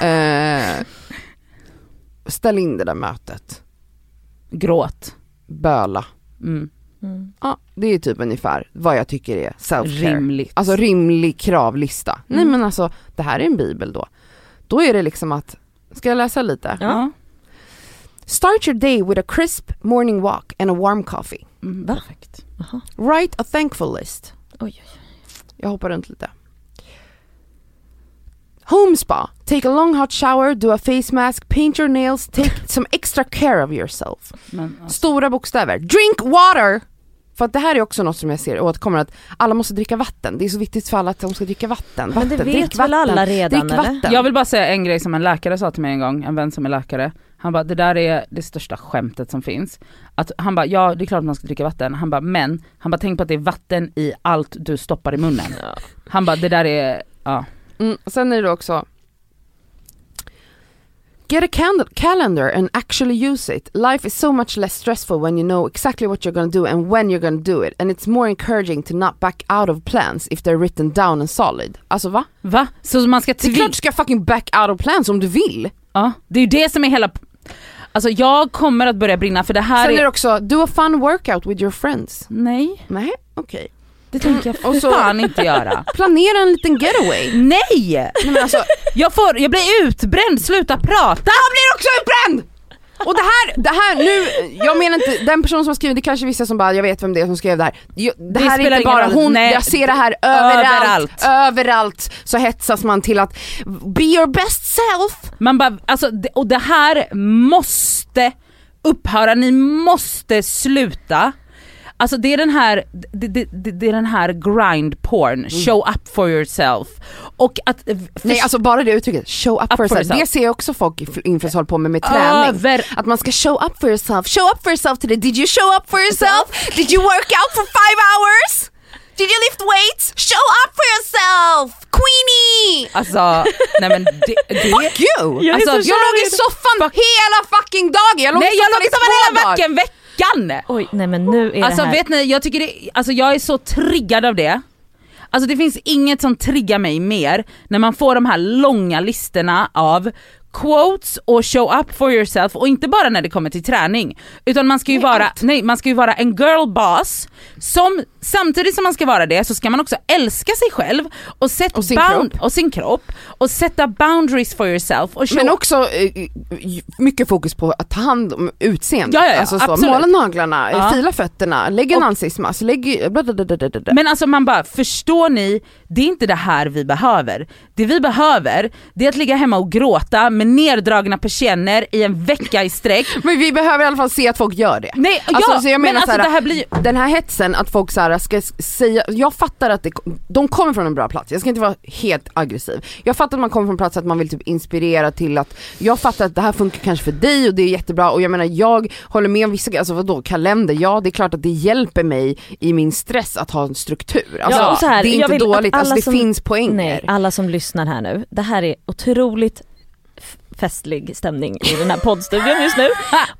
Speaker 2: eh, ställ in det där mötet,
Speaker 3: Gråt.
Speaker 2: böla.
Speaker 3: Mm.
Speaker 4: Mm.
Speaker 2: Ja, det är typ ungefär vad jag tycker är self-care.
Speaker 3: Rimligt.
Speaker 2: Alltså rimlig kravlista. Nej men alltså det här är en bibel då. Då är det liksom att, ska jag läsa lite?
Speaker 3: ja.
Speaker 2: Start your day with a crisp morning walk and a warm coffee.
Speaker 3: Mm,
Speaker 4: Va?
Speaker 3: perfekt.
Speaker 4: Jaha.
Speaker 2: Write a thankful list.
Speaker 4: Oj, oj.
Speaker 2: Jag hoppar runt lite. Home spa. Take a long hot shower, do a face mask, paint your nails, take some extra care of yourself.
Speaker 3: Men, alltså,
Speaker 2: Stora bokstäver. Drink water! För att det här är också något som jag ser återkommer att alla måste dricka vatten. Det är så viktigt för alla att de ska dricka vatten.
Speaker 4: Men
Speaker 2: vatten
Speaker 4: det
Speaker 2: drick
Speaker 4: vet väl
Speaker 2: vatten.
Speaker 4: alla redan
Speaker 2: Drick
Speaker 4: eller?
Speaker 2: vatten.
Speaker 3: Jag vill bara säga en grej som en läkare sa till mig en gång, en vän som är läkare. Han bara, det där är det största skämtet som finns. Att, han bara, ja det är klart att man ska dricka vatten. Han bara, men, han bara tänk på att det är vatten i allt du stoppar i munnen. Han bara, det där är, ja.
Speaker 2: Mm, sen är det också Get a can- calendar and actually use it. Life is so much less stressful when you know exactly what you're gonna do and when you're gonna do it. And it's more encouraging to not back out of plans if they're written down and solid. Alltså va?
Speaker 3: Va? Så man ska
Speaker 2: Det är
Speaker 3: tvinga,
Speaker 2: klart du ska fucking back out of plans om du vill.
Speaker 3: ja. Det är ju det som är hela, alltså jag kommer att börja brinna för det här
Speaker 2: Sen är
Speaker 3: är,
Speaker 2: det också, do a fun workout with your friends.
Speaker 3: nej
Speaker 2: Nej, okej.
Speaker 3: det tänker jag
Speaker 2: Och
Speaker 3: för
Speaker 2: så-
Speaker 3: fan inte göra.
Speaker 2: Planera en liten getaway.
Speaker 3: Nej!
Speaker 2: Nej men alltså,
Speaker 3: Jag, får, jag blir utbränd, sluta prata!
Speaker 2: Han blir också utbränd! Och det här, det här nu, jag menar inte, den personen som har skrivit, det kanske är vissa som bara jag vet vem det är som skrev det här. Jag- Det, här är
Speaker 3: spelar
Speaker 2: inte
Speaker 3: ingen
Speaker 2: bara
Speaker 3: roll.
Speaker 2: hon,
Speaker 3: Nej.
Speaker 2: jag ser det här överallt,
Speaker 3: Överallt.
Speaker 2: överallt. så hetsas man till att be your best self.
Speaker 3: Man bara, alltså, det- och det här måste upphöra, ni måste sluta. Alltså det är den här, det, det, det, det är den här grind porn, show up for yourself. Och att...
Speaker 2: Mm.
Speaker 3: eh,
Speaker 2: Nej alltså bara det uttrycket, show up, for yourself. Det ser jag också folk i- influencers hålla på med med träning.
Speaker 3: Över-
Speaker 2: Att man ska show up for yourself, show up for yourself today, did you show up for yourself? Did you work out for five hours? Did you lift weights? Show up for yourself! Queenie!
Speaker 3: Alltså, nej men det... det
Speaker 2: Fuck you!
Speaker 3: är
Speaker 2: alltså,
Speaker 3: så
Speaker 2: jag
Speaker 3: kär
Speaker 2: låg
Speaker 3: i
Speaker 2: i
Speaker 3: det.
Speaker 2: soffan hela fucking dagen! Jag låg
Speaker 3: nej
Speaker 2: i
Speaker 3: jag
Speaker 2: soffan
Speaker 3: låg
Speaker 2: i två
Speaker 3: hela
Speaker 2: dagar!
Speaker 3: veckan, veckan!
Speaker 4: Oj, nej men nu är
Speaker 3: Alltså
Speaker 4: det här.
Speaker 3: vet ni, jag tycker det, alltså jag är så triggad av det. Alltså det finns inget som triggar mig mer när man får de här långa listorna av quotes och show up for yourself och inte bara när det kommer till träning utan man ska ju vara, nej man ska ju vara en girl boss som samtidigt som man ska vara det så ska man också älska sig själv och, sätta
Speaker 2: Och sin
Speaker 3: bound- och sin kropp och sätta boundaries for yourself och show
Speaker 2: Men också eh, mycket fokus på att ta hand om utseendet.
Speaker 3: Ja, ja, ja,
Speaker 2: alltså så,
Speaker 3: absolut.
Speaker 2: måla naglarna,
Speaker 3: Ja.
Speaker 2: fila fötterna, lägg en ansiktsmask, lägg... blablabla.
Speaker 3: Men alltså man bara, förstår ni? Det är inte det här vi behöver. Det vi behöver, det är att ligga hemma och gråta med neddragna persienner i en vecka i sträck.
Speaker 2: Men vi behöver i alla fall se att folk gör det.
Speaker 3: Nej,
Speaker 2: Alltså,
Speaker 3: ja,
Speaker 2: så jag
Speaker 3: men
Speaker 2: menar
Speaker 3: alltså
Speaker 2: så här-
Speaker 3: det här blir ju...
Speaker 2: Den här hetsen att folk så här ska s- säga, jag fattar att det, de kommer från en bra plats, jag ska inte vara helt aggressiv. Jag fattar att man kommer från en plats att man vill typ inspirera till att, jag fattar att det här funkar kanske för dig och det är jättebra och jag menar jag håller med om vissa grejer, alltså vadå kalender, ja det är klart att det hjälper mig i min stress att ha en struktur. Alltså,
Speaker 4: och så här,
Speaker 2: det är
Speaker 4: jag
Speaker 2: inte
Speaker 4: vill att
Speaker 2: dåligt, alltså,
Speaker 4: alla
Speaker 2: det
Speaker 4: som-
Speaker 2: finns poänger.
Speaker 4: Nej, alla som lyssnar här nu. Det här är otroligt f- festlig stämning i den här poddstudion just nu.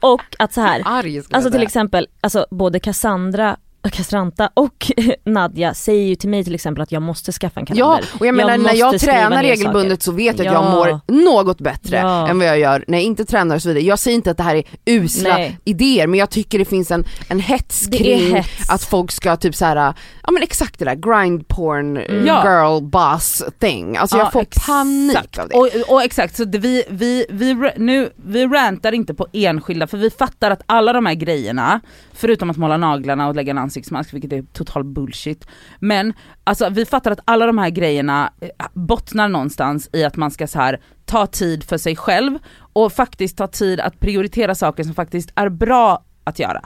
Speaker 4: Och att så här,
Speaker 2: Arg ska
Speaker 4: alltså
Speaker 2: jag
Speaker 4: till
Speaker 2: säga.
Speaker 4: exempel, alltså både Cassandra Castranta och Nadja säger ju till mig till exempel att jag måste skaffa en
Speaker 2: Ja,
Speaker 4: kalender.
Speaker 2: och jag menar när
Speaker 4: måste
Speaker 2: jag
Speaker 4: skriva
Speaker 2: tränar
Speaker 4: ner
Speaker 2: regelbundet så vet jag att
Speaker 4: Ja.
Speaker 2: jag mår något bättre
Speaker 4: Ja.
Speaker 2: än vad jag gör när jag inte tränar och så vidare. Jag säger inte att det här är usla
Speaker 4: Nej.
Speaker 2: idéer men jag tycker det finns en, en hets
Speaker 4: Det är
Speaker 2: kring
Speaker 4: hets.
Speaker 2: att folk ska typ så här, ja men exakt det där grind porn eh,
Speaker 4: Mm.
Speaker 3: Ja.
Speaker 2: girl boss thing. Alltså
Speaker 3: Ja,
Speaker 2: jag får
Speaker 3: exakt.
Speaker 2: panik av det.
Speaker 3: Och, och exakt, så det, vi, vi, vi, ra- nu, vi rantar inte på enskilda för vi fattar att alla de här grejerna, förutom att måla naglarna och lägga en ansiktsmask vilket är total bullshit, men alltså vi fattar att alla de här grejerna eh, bottnar någonstans i att man ska så här ta tid för sig själv och faktiskt ta tid att prioritera saker som faktiskt är bra att göra.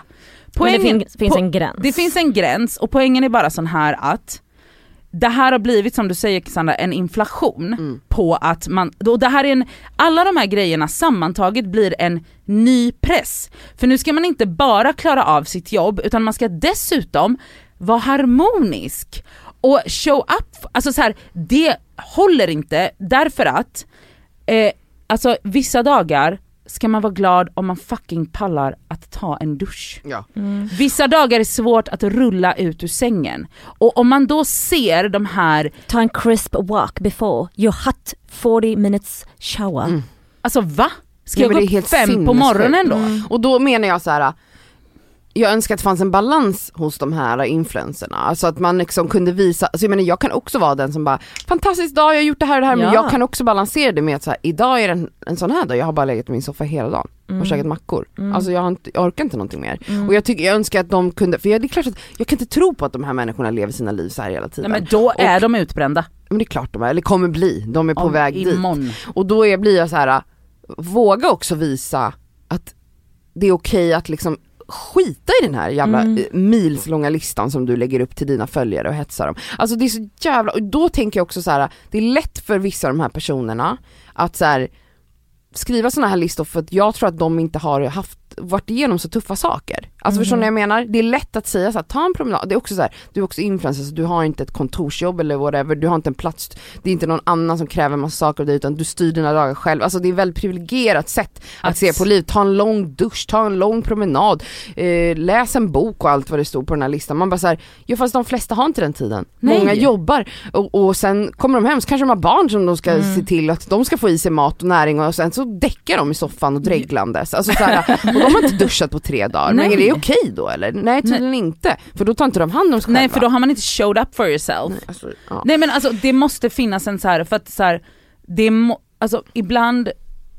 Speaker 4: Men det finns, finns
Speaker 3: po-
Speaker 4: en gräns.
Speaker 3: det finns en gräns och poängen är bara sån här att det här har blivit som du säger Cassandra en inflation på att man, och det här är en, alla de här grejerna sammantaget blir en ny press. För nu ska man inte bara klara av sitt jobb utan man ska dessutom vara harmonisk och show up, alltså så här, det håller inte därför att eh, alltså vissa dagar ska man vara glad om man fucking pallar att ta en dusch.
Speaker 2: ja.
Speaker 3: Vissa dagar är svårt att rulla ut ur sängen. Och om man då ser de här,
Speaker 4: Ta en crisp walk before your hot 40 minutes shower.
Speaker 2: Mm,
Speaker 3: alltså va? Ska
Speaker 2: Ja,
Speaker 3: jag
Speaker 2: men
Speaker 3: gå
Speaker 2: det är
Speaker 3: upp
Speaker 2: helt
Speaker 3: fem på
Speaker 2: sinnessjukt. Mm.
Speaker 3: morgonen då?
Speaker 2: Och då menar jag så här. Jag önskar att det fanns en balans hos de här influencerna, alltså att man liksom kunde visa, alltså jag menar jag kan också vara den som bara fantastisk dag, jag har gjort det här och det här men
Speaker 4: Ja.
Speaker 2: jag kan också balansera det med att så här, idag är det en, en sån här dag, jag har bara legat i min soffa hela dagen
Speaker 3: Mm.
Speaker 2: och käkat mackor. Alltså jag, har inte, jag orkar inte någonting mer. Och jag, tycker, jag önskar att de kunde, för jag, det är klart att jag kan inte tro på att de här människorna lever sina liv så här hela tiden.
Speaker 3: Nej men då är
Speaker 2: Mm. Och-
Speaker 3: de utbrända.
Speaker 2: men det är klart de är, eller kommer bli, de är på
Speaker 3: Om-
Speaker 2: väg dit.
Speaker 3: imorgon.
Speaker 2: Och då är, blir jag så här, våga också visa att det är okej att liksom skita i den här jävla
Speaker 4: Mm.
Speaker 2: eh, milslånga listan som du lägger upp till dina följare och hetsar dem. Alltså det är så jävla, och då tänker jag också så här: det är lätt för vissa av de här personerna att så här skriva sådana här listor för att jag tror att de inte har haft, varit igenom så tuffa saker. Alltså förstår ni vad jag menar? Det är lätt att säga så här, ta en promenad, det är också så här, du är också influencer så du har inte ett kontorsjobb eller whatever, du har inte en plats, det är inte någon annan som kräver massa saker av dig utan du styr dina dagar själv. Alltså det är ett väldigt privilegierat sätt att,
Speaker 3: Att-
Speaker 2: se på livet, ta en lång dusch, ta en lång promenad, eh, läs en bok och allt vad det stod på den här listan. Man bara så här, ja fast de flesta har inte den tiden.
Speaker 3: Nej.
Speaker 2: Många jobbar och, och sen kommer de hem så kanske de har barn som de ska
Speaker 3: Mm.
Speaker 2: se till att de ska få i sig mat och näring och sen så däckar de i soffan och dreglandes. Alltså så här, och de har inte duschat på tre dagar. Men är det okej då eller? Nej tydligen inte. För då tar inte de hand om sig
Speaker 3: Nej
Speaker 2: själva.
Speaker 3: för då har man inte showed up for yourself. Nej,
Speaker 2: Alltså, ja.
Speaker 3: men alltså det måste finnas en så här för att så här, det må, alltså ibland,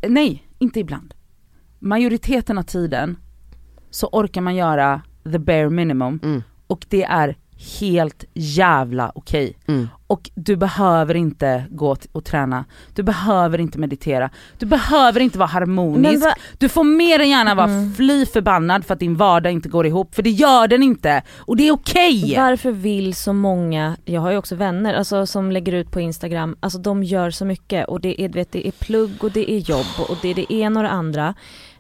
Speaker 3: nej inte ibland. Majoriteten av tiden så orkar man göra the bare minimum
Speaker 2: Mm.
Speaker 3: och det är helt jävla okej.
Speaker 2: Mm.
Speaker 3: Och du behöver inte gå t- och träna, du behöver inte meditera, du behöver inte vara harmonisk.
Speaker 4: Men vad-
Speaker 3: Du får mer än gärna vara
Speaker 4: Mm.
Speaker 3: fly förbannad för att din vardag inte går ihop, för det gör den inte. Och det är okej!
Speaker 4: Varför vill så många, jag har ju också vänner alltså, som lägger ut på Instagram, alltså de gör så mycket och det är, du vet, det är plugg och det är jobb och det är det ena och det andra.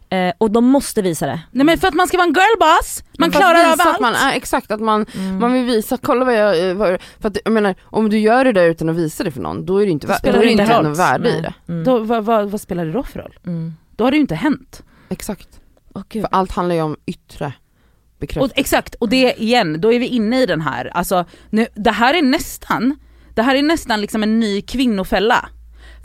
Speaker 4: Eh, och de måste visa det.
Speaker 3: Nej men för att man ska vara en girlboss, man
Speaker 2: För att
Speaker 3: klarar av
Speaker 2: visa
Speaker 3: allt.
Speaker 2: Att man, är- exakt, att man,
Speaker 3: Mm.
Speaker 2: man vill visa, kolla vad jag, eh, vad, för att jag menar om du gör det där utan att visa det för någon då är det inte, vä- då
Speaker 3: spelar
Speaker 2: är det
Speaker 3: det
Speaker 2: inte
Speaker 3: inte
Speaker 2: någon
Speaker 3: roll.
Speaker 2: värde i det.
Speaker 4: Mm.
Speaker 3: Då, vad, vad, vad spelar det då för roll?
Speaker 4: Mm.
Speaker 3: Då har det ju inte hänt.
Speaker 2: Exakt.
Speaker 4: Åh, gud.
Speaker 2: För allt handlar ju om yttre
Speaker 3: Och,
Speaker 2: bekräftelse.
Speaker 3: exakt, och
Speaker 2: Mm.
Speaker 3: det igen, då är vi inne i den här, alltså nu, det här är nästan, det här är nästan liksom en ny kvinnofälla.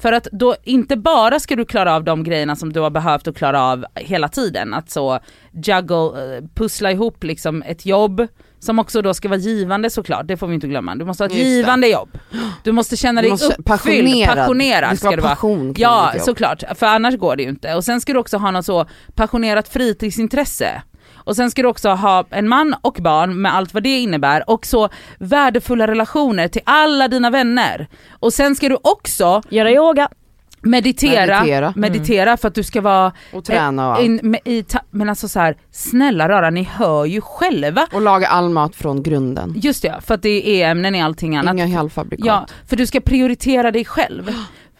Speaker 3: För att då inte bara ska du klara av de grejerna som du har behövt att klara av hela tiden, att så juggle, eh, pussla ihop liksom ett jobb som också då ska vara givande såklart, det får vi inte glömma. Du måste ha ett
Speaker 2: Just det.
Speaker 3: givande jobb. Du måste känna
Speaker 2: Du
Speaker 3: dig
Speaker 2: måste-
Speaker 3: uppfylld, passionerad,
Speaker 2: Det ska,
Speaker 3: ska du
Speaker 2: vara
Speaker 3: vara.
Speaker 2: passion kring
Speaker 3: Ja
Speaker 2: ditt jobb.
Speaker 3: såklart, för annars går det ju inte. Och sen ska du också ha något så passionerat fritidsintresse. Och sen ska du också ha en man och barn med allt vad det innebär och så värdefulla relationer till alla dina vänner. Och sen ska du också
Speaker 4: Göra yoga.
Speaker 3: meditera,
Speaker 2: Meditera.
Speaker 3: meditera, för att du ska vara
Speaker 2: Och träna och allt.
Speaker 3: in, med, i, ta- men alltså så här, snälla rara ni hör ju själva.
Speaker 2: Och laga all mat från grunden.
Speaker 3: Just det ja, för att det är e-ämnen i allting annat.
Speaker 2: Inga halvfabrikat.
Speaker 3: Ja, för du ska prioritera dig själv.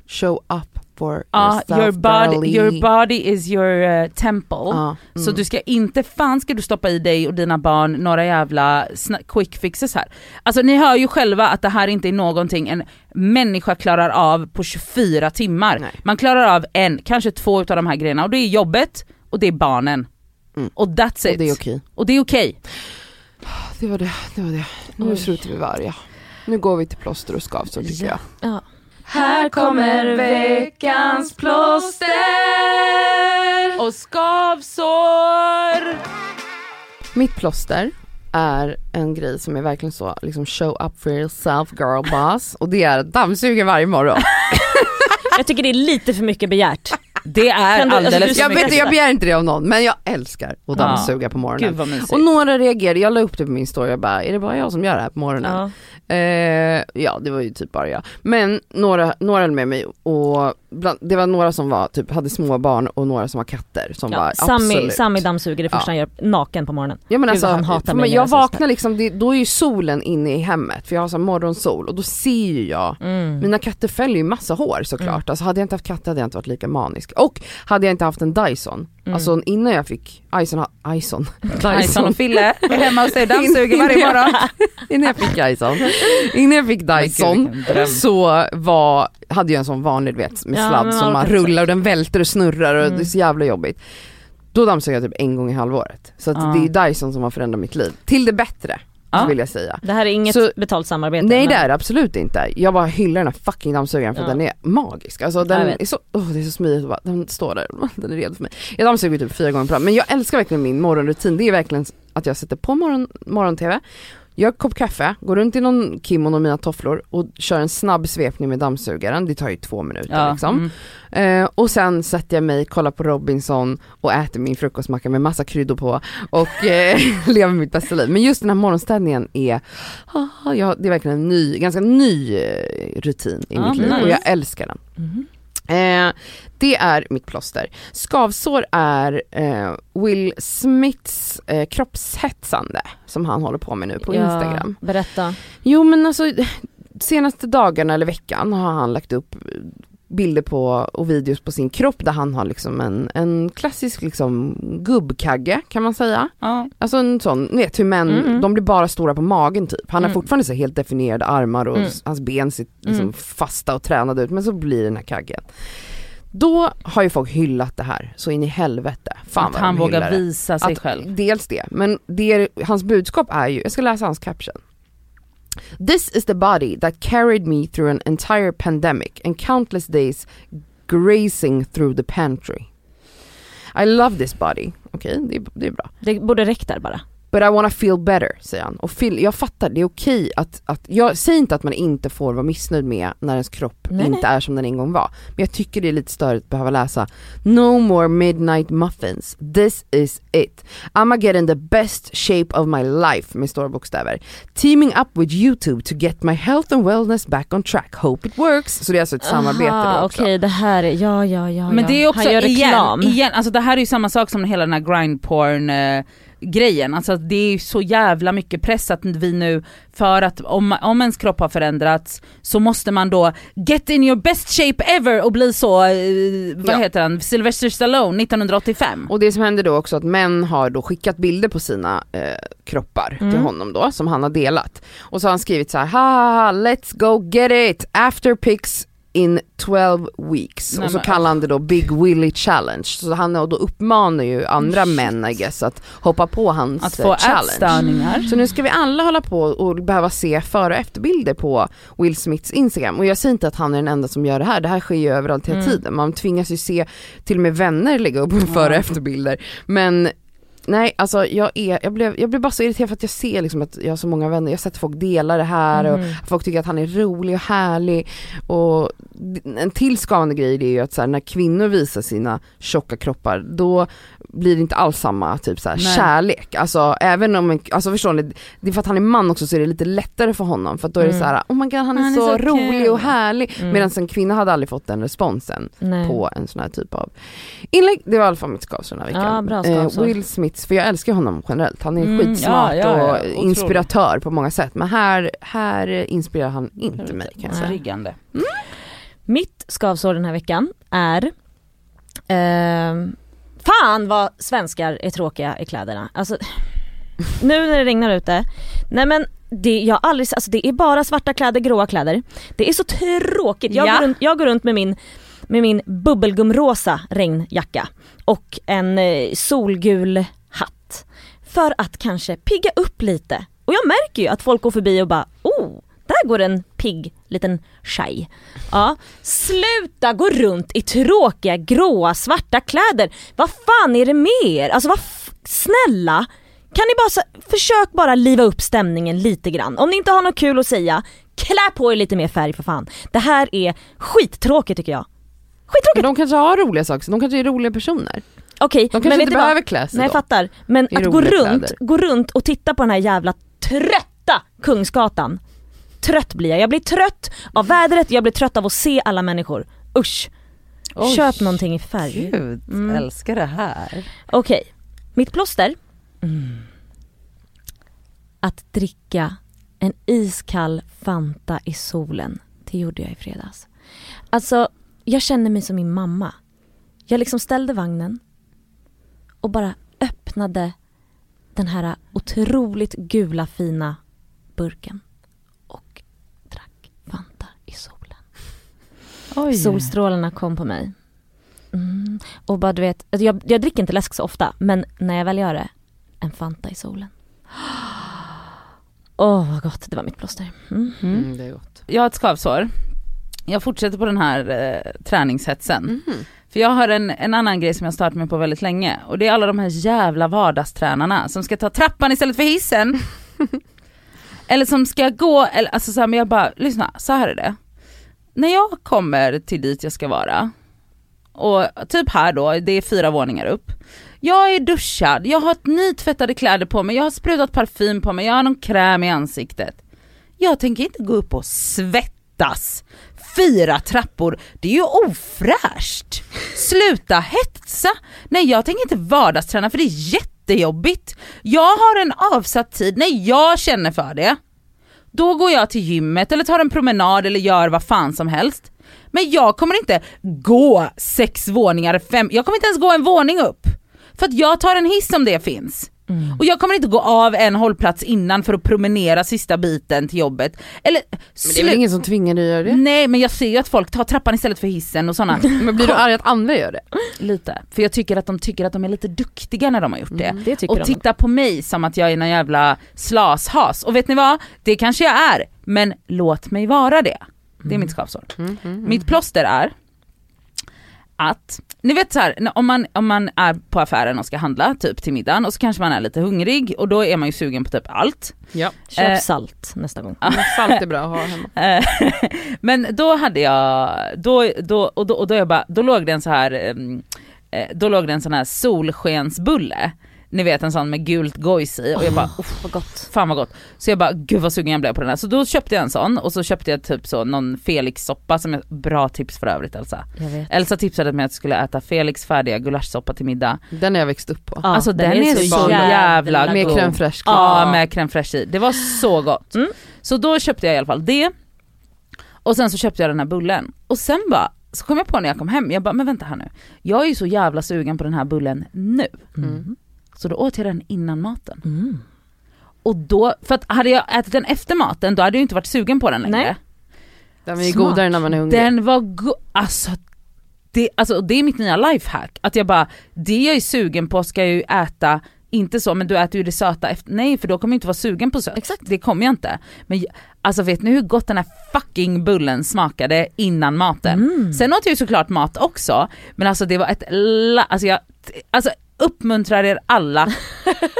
Speaker 2: Show up for
Speaker 3: Ja,
Speaker 2: yourself
Speaker 3: your, body,
Speaker 2: girly.
Speaker 3: your body is your eh, temple.
Speaker 2: Ja, mm.
Speaker 3: Så du ska inte, fan ska du stoppa i dig och dina barn några jävla sna- quick fixes här. Alltså ni hör ju själva att det här inte är någonting en människa klarar av på 24 timmar.
Speaker 2: Nej.
Speaker 3: Man klarar av en, kanske två utav de här grejerna och det är jobbet och det är barnen.
Speaker 2: Mm.
Speaker 3: Och that's it.
Speaker 2: Och det är okej.
Speaker 3: Och det är okej.
Speaker 2: Det var det, det var det. Nu
Speaker 4: Oj.
Speaker 2: slutar vi varga. Nu går vi till plåster och skavsår tycker
Speaker 4: Ja.
Speaker 2: jag.
Speaker 4: Ja.
Speaker 6: Här kommer veckans plåster.
Speaker 3: Och skavsår!
Speaker 2: Mitt plåster är en grej som är verkligen så liksom show up for yourself girl boss och det är att dammsuga varje morgon.
Speaker 4: Jag tycker det är lite för mycket begärt.
Speaker 3: Det är
Speaker 4: Kan du- alltså,
Speaker 3: alldeles
Speaker 4: du-
Speaker 2: jag,
Speaker 4: mycket.
Speaker 2: vet, inte, jag begär inte det av någon men jag älskar att
Speaker 3: Ja.
Speaker 2: dammsuga på morgonen.
Speaker 3: Gud vad mysigt.
Speaker 2: Och några reagerade, jag la upp det på min story och bara, är det bara jag som gör det här på morgonen?
Speaker 4: Ja.
Speaker 2: Eh, ja det var ju typ bara jag. Men några, några höll med mig och bland, det var några som var, typ, hade små barn och några som har katter som
Speaker 4: Ja.
Speaker 2: var
Speaker 4: Sami,
Speaker 2: absolut.
Speaker 4: Sami dammsuger det första
Speaker 2: Ja.
Speaker 4: han gör naken på morgonen.
Speaker 2: Ja, men
Speaker 4: Gud,
Speaker 2: alltså,
Speaker 4: han hatar
Speaker 2: för
Speaker 4: mig
Speaker 2: man,
Speaker 4: när
Speaker 2: jag
Speaker 4: jag säger
Speaker 2: vaknar liksom, det, då är ju solen inne i hemmet för jag har så här morgonsol och då ser ju
Speaker 4: Mm.
Speaker 2: jag,
Speaker 3: Mm.
Speaker 2: mina katter fäller ju massa hår såklart. Alltså hade jag inte haft katter hade jag inte varit lika manisk. Och hade jag inte haft en Dyson,
Speaker 4: Mm.
Speaker 2: alltså innan jag fick Ison, Ison, liksom-
Speaker 3: Tyson och Fille är hemma hos dig och dammsuger varje
Speaker 2: Innan jag-
Speaker 3: morgon.
Speaker 2: innan jag fick Dyson, innan jag fick Dyson så var, hade jag en sån vanlig du vet med
Speaker 4: Ja,
Speaker 2: sladd
Speaker 4: men
Speaker 2: som
Speaker 4: man
Speaker 2: man
Speaker 4: orkar inte.
Speaker 2: rullar och den välter och snurrar
Speaker 4: Mm.
Speaker 2: och det är så jävla jobbigt. Då dammsög jag typ en gång i halvåret. Så att
Speaker 3: Ja.
Speaker 2: det är Dyson som har förändrat mitt liv. Till det bättre
Speaker 3: Ja.
Speaker 2: vill jag säga.
Speaker 4: Det här är inget
Speaker 2: Så-
Speaker 4: betalt samarbete.
Speaker 2: Nej
Speaker 4: men-
Speaker 2: det är det absolut inte. Jag bara hyllar den här fucking dammsugaren för
Speaker 4: Ja.
Speaker 2: den är magisk. Alltså
Speaker 4: Jag
Speaker 2: den
Speaker 4: vet.
Speaker 2: är så, åh det är så smidigt att bara, den står där, den är redo för mig. Jag dammsuger typ fyra gånger per dag men jag älskar verkligen min morgonrutin. Det är verkligen att jag sätter på morgon, morgon-tv, gör en kopp kaffe, går runt i någon kimono och mina tofflor och kör en snabb svepning med dammsugaren. Det tar ju två minuter
Speaker 3: Ja,
Speaker 2: liksom.
Speaker 3: mm.
Speaker 2: Eh, och sen sätter jag mig, kollar på Robinson och äter min frukostmacka med massa kryddor på och eh, lever mitt bästa liv. Men just den här morgonstädningen är, ah, ja, det är verkligen en ny, ganska ny eh, rutin i
Speaker 3: Ja,
Speaker 2: mitt liv
Speaker 3: nice.
Speaker 2: och jag älskar den.
Speaker 3: Mm.
Speaker 2: Eh, det är mitt plåster. Skavsår är eh, Will Smiths eh, kroppshetsande som han håller på med nu på
Speaker 4: Ja,
Speaker 2: Instagram.
Speaker 4: Berätta.
Speaker 2: Jo men alltså senaste dagarna eller veckan har han lagt upp bilder på och videos på sin kropp där han har liksom en, en klassisk liksom gubbkagge kan man säga.
Speaker 3: Ja.
Speaker 2: Alltså en sån, ni vet hur män,
Speaker 4: Mm.
Speaker 2: de blir bara stora på magen typ. Han
Speaker 4: Mm.
Speaker 2: har fortfarande så här helt definierade armar och
Speaker 4: Mm.
Speaker 2: s- hans ben ser liksom
Speaker 4: Mm.
Speaker 2: fasta och tränade ut men så blir den här kaggen. Då har ju folk hyllat det här så in i helvete. Fan
Speaker 3: att
Speaker 2: vad
Speaker 3: han
Speaker 2: de hyllar
Speaker 3: vågar
Speaker 2: det.
Speaker 3: visa sig själv.
Speaker 2: Dels det, men det, hans budskap är ju, jag ska läsa hans caption. This is the body that carried me through an entire pandemic and countless days grazing through the pantry. I love this body, okej det, det är bra.
Speaker 4: Det borde räckt där bara.
Speaker 2: But I wanna feel better, säger han. Och feel, jag fattar, det är okej att, att, jag säger inte att man inte får vara missnöjd med när ens kropp
Speaker 4: Nej,
Speaker 2: inte är som den en gång var. Men jag tycker det är lite störigt att behöva läsa No more midnight muffins, this is it. I'ma get in the best shape of my life med stora bokstäver. Teaming up with YouTube to get my health and wellness back on track, hope it works. Så det är alltså ett samarbete
Speaker 4: Aha,
Speaker 2: då
Speaker 4: Okej
Speaker 2: också.
Speaker 4: det här är, ja ja ja.
Speaker 3: Men
Speaker 4: ja.
Speaker 3: det är också
Speaker 4: han gör reklam.
Speaker 3: igen, igen, alltså det här är ju samma sak som hela den här grindporn eh, grejen, alltså att det är ju så jävla mycket press att vi nu, för att om, om ens kropp har förändrats så måste man då get in your best shape ever och bli så, eh, vad
Speaker 2: Ja.
Speaker 3: heter han, Sylvester Stallone 1985.
Speaker 2: Och det som händer då också att män har då skickat bilder på sina eh, kroppar till
Speaker 3: Mm.
Speaker 2: honom då som han har delat. Och så har han skrivit så här ha let's go get it after pics in 12 weeks.
Speaker 3: Nej,
Speaker 2: och så
Speaker 3: men-
Speaker 2: kallar han det då Big Willy Challenge. Så han då uppmanar ju andra män I guess att hoppa på hans
Speaker 3: Att
Speaker 2: eh,
Speaker 3: få
Speaker 2: challenge.
Speaker 3: ätstörningar.
Speaker 4: Mm.
Speaker 2: Så nu ska vi alla hålla på och behöva se före och efterbilder på Will Smiths Instagram. Och jag säger inte att han är den enda som gör det här, det här sker ju överallt hela tiden. Man tvingas ju se till och med vänner lägga upp före och efterbilder. Men nej, alltså jag, är, jag, blev, jag blev bara så irriterad för att jag ser liksom att jag har så många vänner, jag har sett folk dela det här och
Speaker 4: Mm.
Speaker 2: folk tycker att han är rolig och härlig. Och en till skadande grej det är ju att så här, när kvinnor visar sina tjocka kroppar då blir det inte alls samma typ så här,
Speaker 3: Nej.
Speaker 2: kärlek. Alltså även om, en, alltså förstår ni, det är för att han är man också så är det lite lättare för honom för att då är det
Speaker 4: Mm.
Speaker 2: så här, oh my god han är,
Speaker 3: Han är
Speaker 2: så,
Speaker 3: så kul."
Speaker 2: rolig och härlig.
Speaker 4: Mm.
Speaker 2: Medan en kvinna hade aldrig fått den responsen
Speaker 4: Nej.
Speaker 3: Mm.
Speaker 2: på en sån här typ av inlägg. Det var i alla fall mitt skavsår den här veckan. Eh,
Speaker 4: Ja, bra skavsår.
Speaker 2: Will Smiths, för jag älskar honom generellt, han är
Speaker 3: Mm,
Speaker 2: skitsmart
Speaker 3: ja, ja, ja.
Speaker 2: och
Speaker 3: Otroligt.
Speaker 2: inspiratör på många sätt men här, här inspirerar han inte mig kan jag säga.
Speaker 3: Triggande.
Speaker 4: Mitt skavsår den här veckan är ehm, Fan vad svenskar är tråkiga i kläderna. Alltså, nu när det regnar ute. Nej men det, jag har aldrig, alltså det är bara svarta kläder, gråa kläder. Det är så tråkigt. Jag,
Speaker 3: Ja.
Speaker 4: går, runt, jag går runt med min, med min bubbelgumrosa regnjacka och en eh, solgul hatt. För att kanske pigga upp lite. Och jag märker ju att folk går förbi och bara oh, där går en pigg liten tjej. Ja. Sluta gå runt i tråkiga gråa svarta kläder. Vad fan är det med er? Alltså vad f- snälla. Kan ni bara, så- försök bara liva upp stämningen lite grann. Om ni inte har något kul att säga, klä på er lite mer färg för fan. Det här är skittråkigt tycker jag.
Speaker 2: Men
Speaker 4: Skittråkigt!
Speaker 2: de kanske har roliga saker, de kanske är roliga personer.
Speaker 4: Okej,
Speaker 2: De kanske
Speaker 4: men vet
Speaker 2: inte
Speaker 4: ni vad?
Speaker 2: behöver klä sig
Speaker 4: Nej jag
Speaker 2: då.
Speaker 4: fattar. Men
Speaker 2: I
Speaker 4: att gå
Speaker 2: roliga
Speaker 4: runt,
Speaker 2: kläder.
Speaker 4: gå runt och titta på den här jävla trötta Kungsgatan. Trött blir jag. Jag blir trött av vädret, jag blir trött av att se alla människor. Usch.
Speaker 3: Oj.
Speaker 4: Köp någonting i färg.
Speaker 3: Gud, älskar det här.
Speaker 4: Okej, mitt plåster. Mm. Att dricka en iskall Fanta i solen. Det gjorde jag i fredags. Alltså, jag känner mig som min mamma. Jag liksom ställde vagnen och bara öppnade den här otroligt gula fina burken och drack Fanta i solen.
Speaker 3: Oj.
Speaker 4: Solstrålarna kom på mig. Mm. Och bara du vet, alltså jag, jag dricker inte läsk så ofta men när jag väl gör det, en Fanta i solen. Åh vad gott, det var mitt plåster. Mm.
Speaker 2: Mm, det är gott.
Speaker 3: jag har ett skavsår. Jag fortsätter på den här eh, träningshetsen. För jag har en, en annan grej som jag har stört mig på väldigt länge och det är alla de här jävla vardagstränarna som ska ta trappan istället för hissen. eller som ska gå, eller, alltså så här, men jag bara, lyssna, så här är det. När jag kommer till dit jag ska vara, och typ här då, det är fyra våningar upp. Jag är duschad, jag har nytvättade kläder på mig, jag har sprutat parfym på mig, jag har någon kräm i ansiktet. Jag tänker inte gå upp och svettas fyra trappor, det är ju ofräscht. Sluta hetsa. Nej jag tänker inte vardagsträna för det är jättejobbigt. Jag har en avsatt tid när jag känner för det. Då går jag till gymmet eller tar en promenad eller gör vad fan som helst. Men jag kommer inte gå sex våningar, fem, jag kommer inte ens gå en våning upp. För att jag tar en hiss om det finns. Och jag kommer inte gå av en hållplats innan för att promenera sista biten till jobbet. Eller,
Speaker 2: Men det är väl ingen som tvingar dig att göra det?
Speaker 3: Nej men jag ser ju att folk tar trappan istället för hissen och sådana.
Speaker 4: Mm.
Speaker 2: Men blir du arg att andra gör det?
Speaker 3: lite. För jag tycker att de tycker att de är lite duktiga när de har gjort det.
Speaker 4: Det Mm. tycker
Speaker 3: Och
Speaker 4: de.
Speaker 3: titta på mig som att jag är någon jävla slashas. Och vet ni vad? Det kanske jag är, men låt mig vara det. Det är
Speaker 4: Mm.
Speaker 3: mitt skavsår. Mitt plåster är att, ni vet så här, när- om man, om man är på affären och ska handla typ till middagen och så kanske man är lite hungrig och då är man ju sugen på typ allt.
Speaker 2: Ja.
Speaker 4: Köp
Speaker 3: Eh.
Speaker 4: salt nästa gång.
Speaker 2: Salt är bra att ha hemma.
Speaker 3: Eh, Men då hade jag, då, då, och då, och då, jag bara, då låg det en så här, ehm, eh, då låg det en sån här solskensbulle. Ni vet en sån med gult gojs i och jag bara
Speaker 4: Vad gott.
Speaker 3: fan vad gott. Så jag bara gud vad sugen jag blev på den här. Så då köpte jag en sån och så köpte jag typ så någon Felix-soppa som är bra tips för övrigt Elsa.
Speaker 4: Jag vet.
Speaker 3: Elsa tipsade mig att jag skulle äta Felix färdiga gulaschsoppa till middag.
Speaker 2: Den har jag växt upp på.
Speaker 4: Ja,
Speaker 3: alltså den, är, så jävla,
Speaker 2: Med
Speaker 3: god.
Speaker 2: crème fraîche.
Speaker 3: Ja
Speaker 4: Ja.
Speaker 3: med crème fraîche i. Det var så gott.
Speaker 4: Mm.
Speaker 3: Så då köpte jag i alla fall det. Och sen så köpte jag den här bullen. Och sen bara, så kom jag på när jag kom hem, jag bara men vänta här nu. Jag är ju så jävla sugen på den här bullen nu.
Speaker 2: Mm.
Speaker 3: Så då åt jag den innan maten.
Speaker 4: Mm.
Speaker 3: Och då, för att hade jag ätit den efter maten då hade jag ju inte varit sugen på den längre.
Speaker 4: Nej.
Speaker 2: Den är ju
Speaker 3: Smart.
Speaker 2: godare när man är hungrig.
Speaker 3: Den var god, alltså det, alltså det är mitt nya lifehack. Att jag bara, det jag är sugen på ska jag ju äta, inte så men du äter ju det söta efter, nej för då kommer jag inte vara sugen på sött.
Speaker 4: Exakt.
Speaker 3: Det kommer jag inte. Men jag- alltså vet ni hur gott den här fucking bullen smakade innan maten?
Speaker 4: Mm.
Speaker 3: Sen åt jag ju såklart mat också, men alltså det var ett, la, alltså jag, alltså uppmuntrar er alla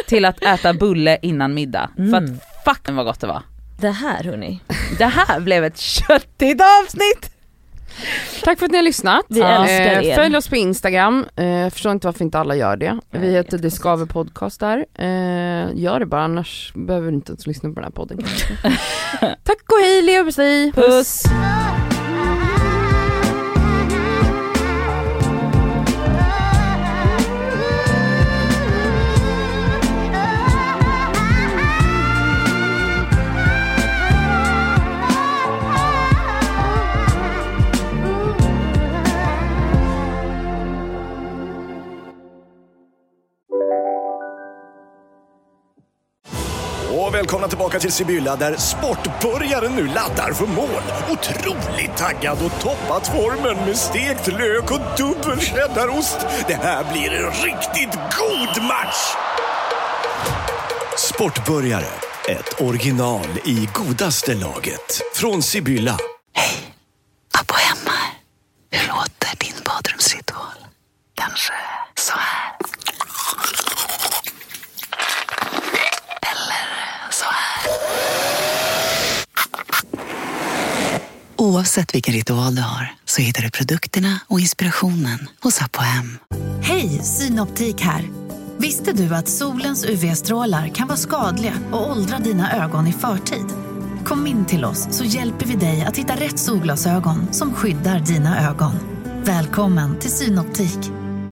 Speaker 3: till att äta bulle innan middag. För att fucking vad gott det var.
Speaker 4: Det här hörni,
Speaker 3: Det här blev ett köttigt avsnitt!
Speaker 2: Tack för att ni har lyssnat. Eh,
Speaker 4: Vi älskar er.
Speaker 2: Följ oss på Instagram. Eh, jag förstår inte varför inte alla gör det. Vi heter Det Skaver Podcast där. Eh, gör det bara, annars behöver du inte ens lyssna på den här podden. kanske. Tack och hej, leverpastej!
Speaker 3: Puss.
Speaker 7: Och välkomna tillbaka till Sibylla där sportbörjaren nu laddar för mål. Otroligt taggad och toppat formen med stekt lök och dubbel cheddarost. Det här blir en riktigt god match! Sportbörjare, ett original i godaste laget. Från Sibylla.
Speaker 8: Abba hemma. Hur låter din badrumsritual? Kanske så här. Eller så här. Oavsett vilken ritual du har så hittar du produkterna och inspirationen hos Apohem.
Speaker 9: Hej, Synoptik här. Visste du att solens UV-strålar kan vara skadliga och åldra dina ögon i förtid? Kom in till oss så hjälper vi dig att hitta rätt solglasögon som skyddar dina ögon. Välkommen till Synoptik.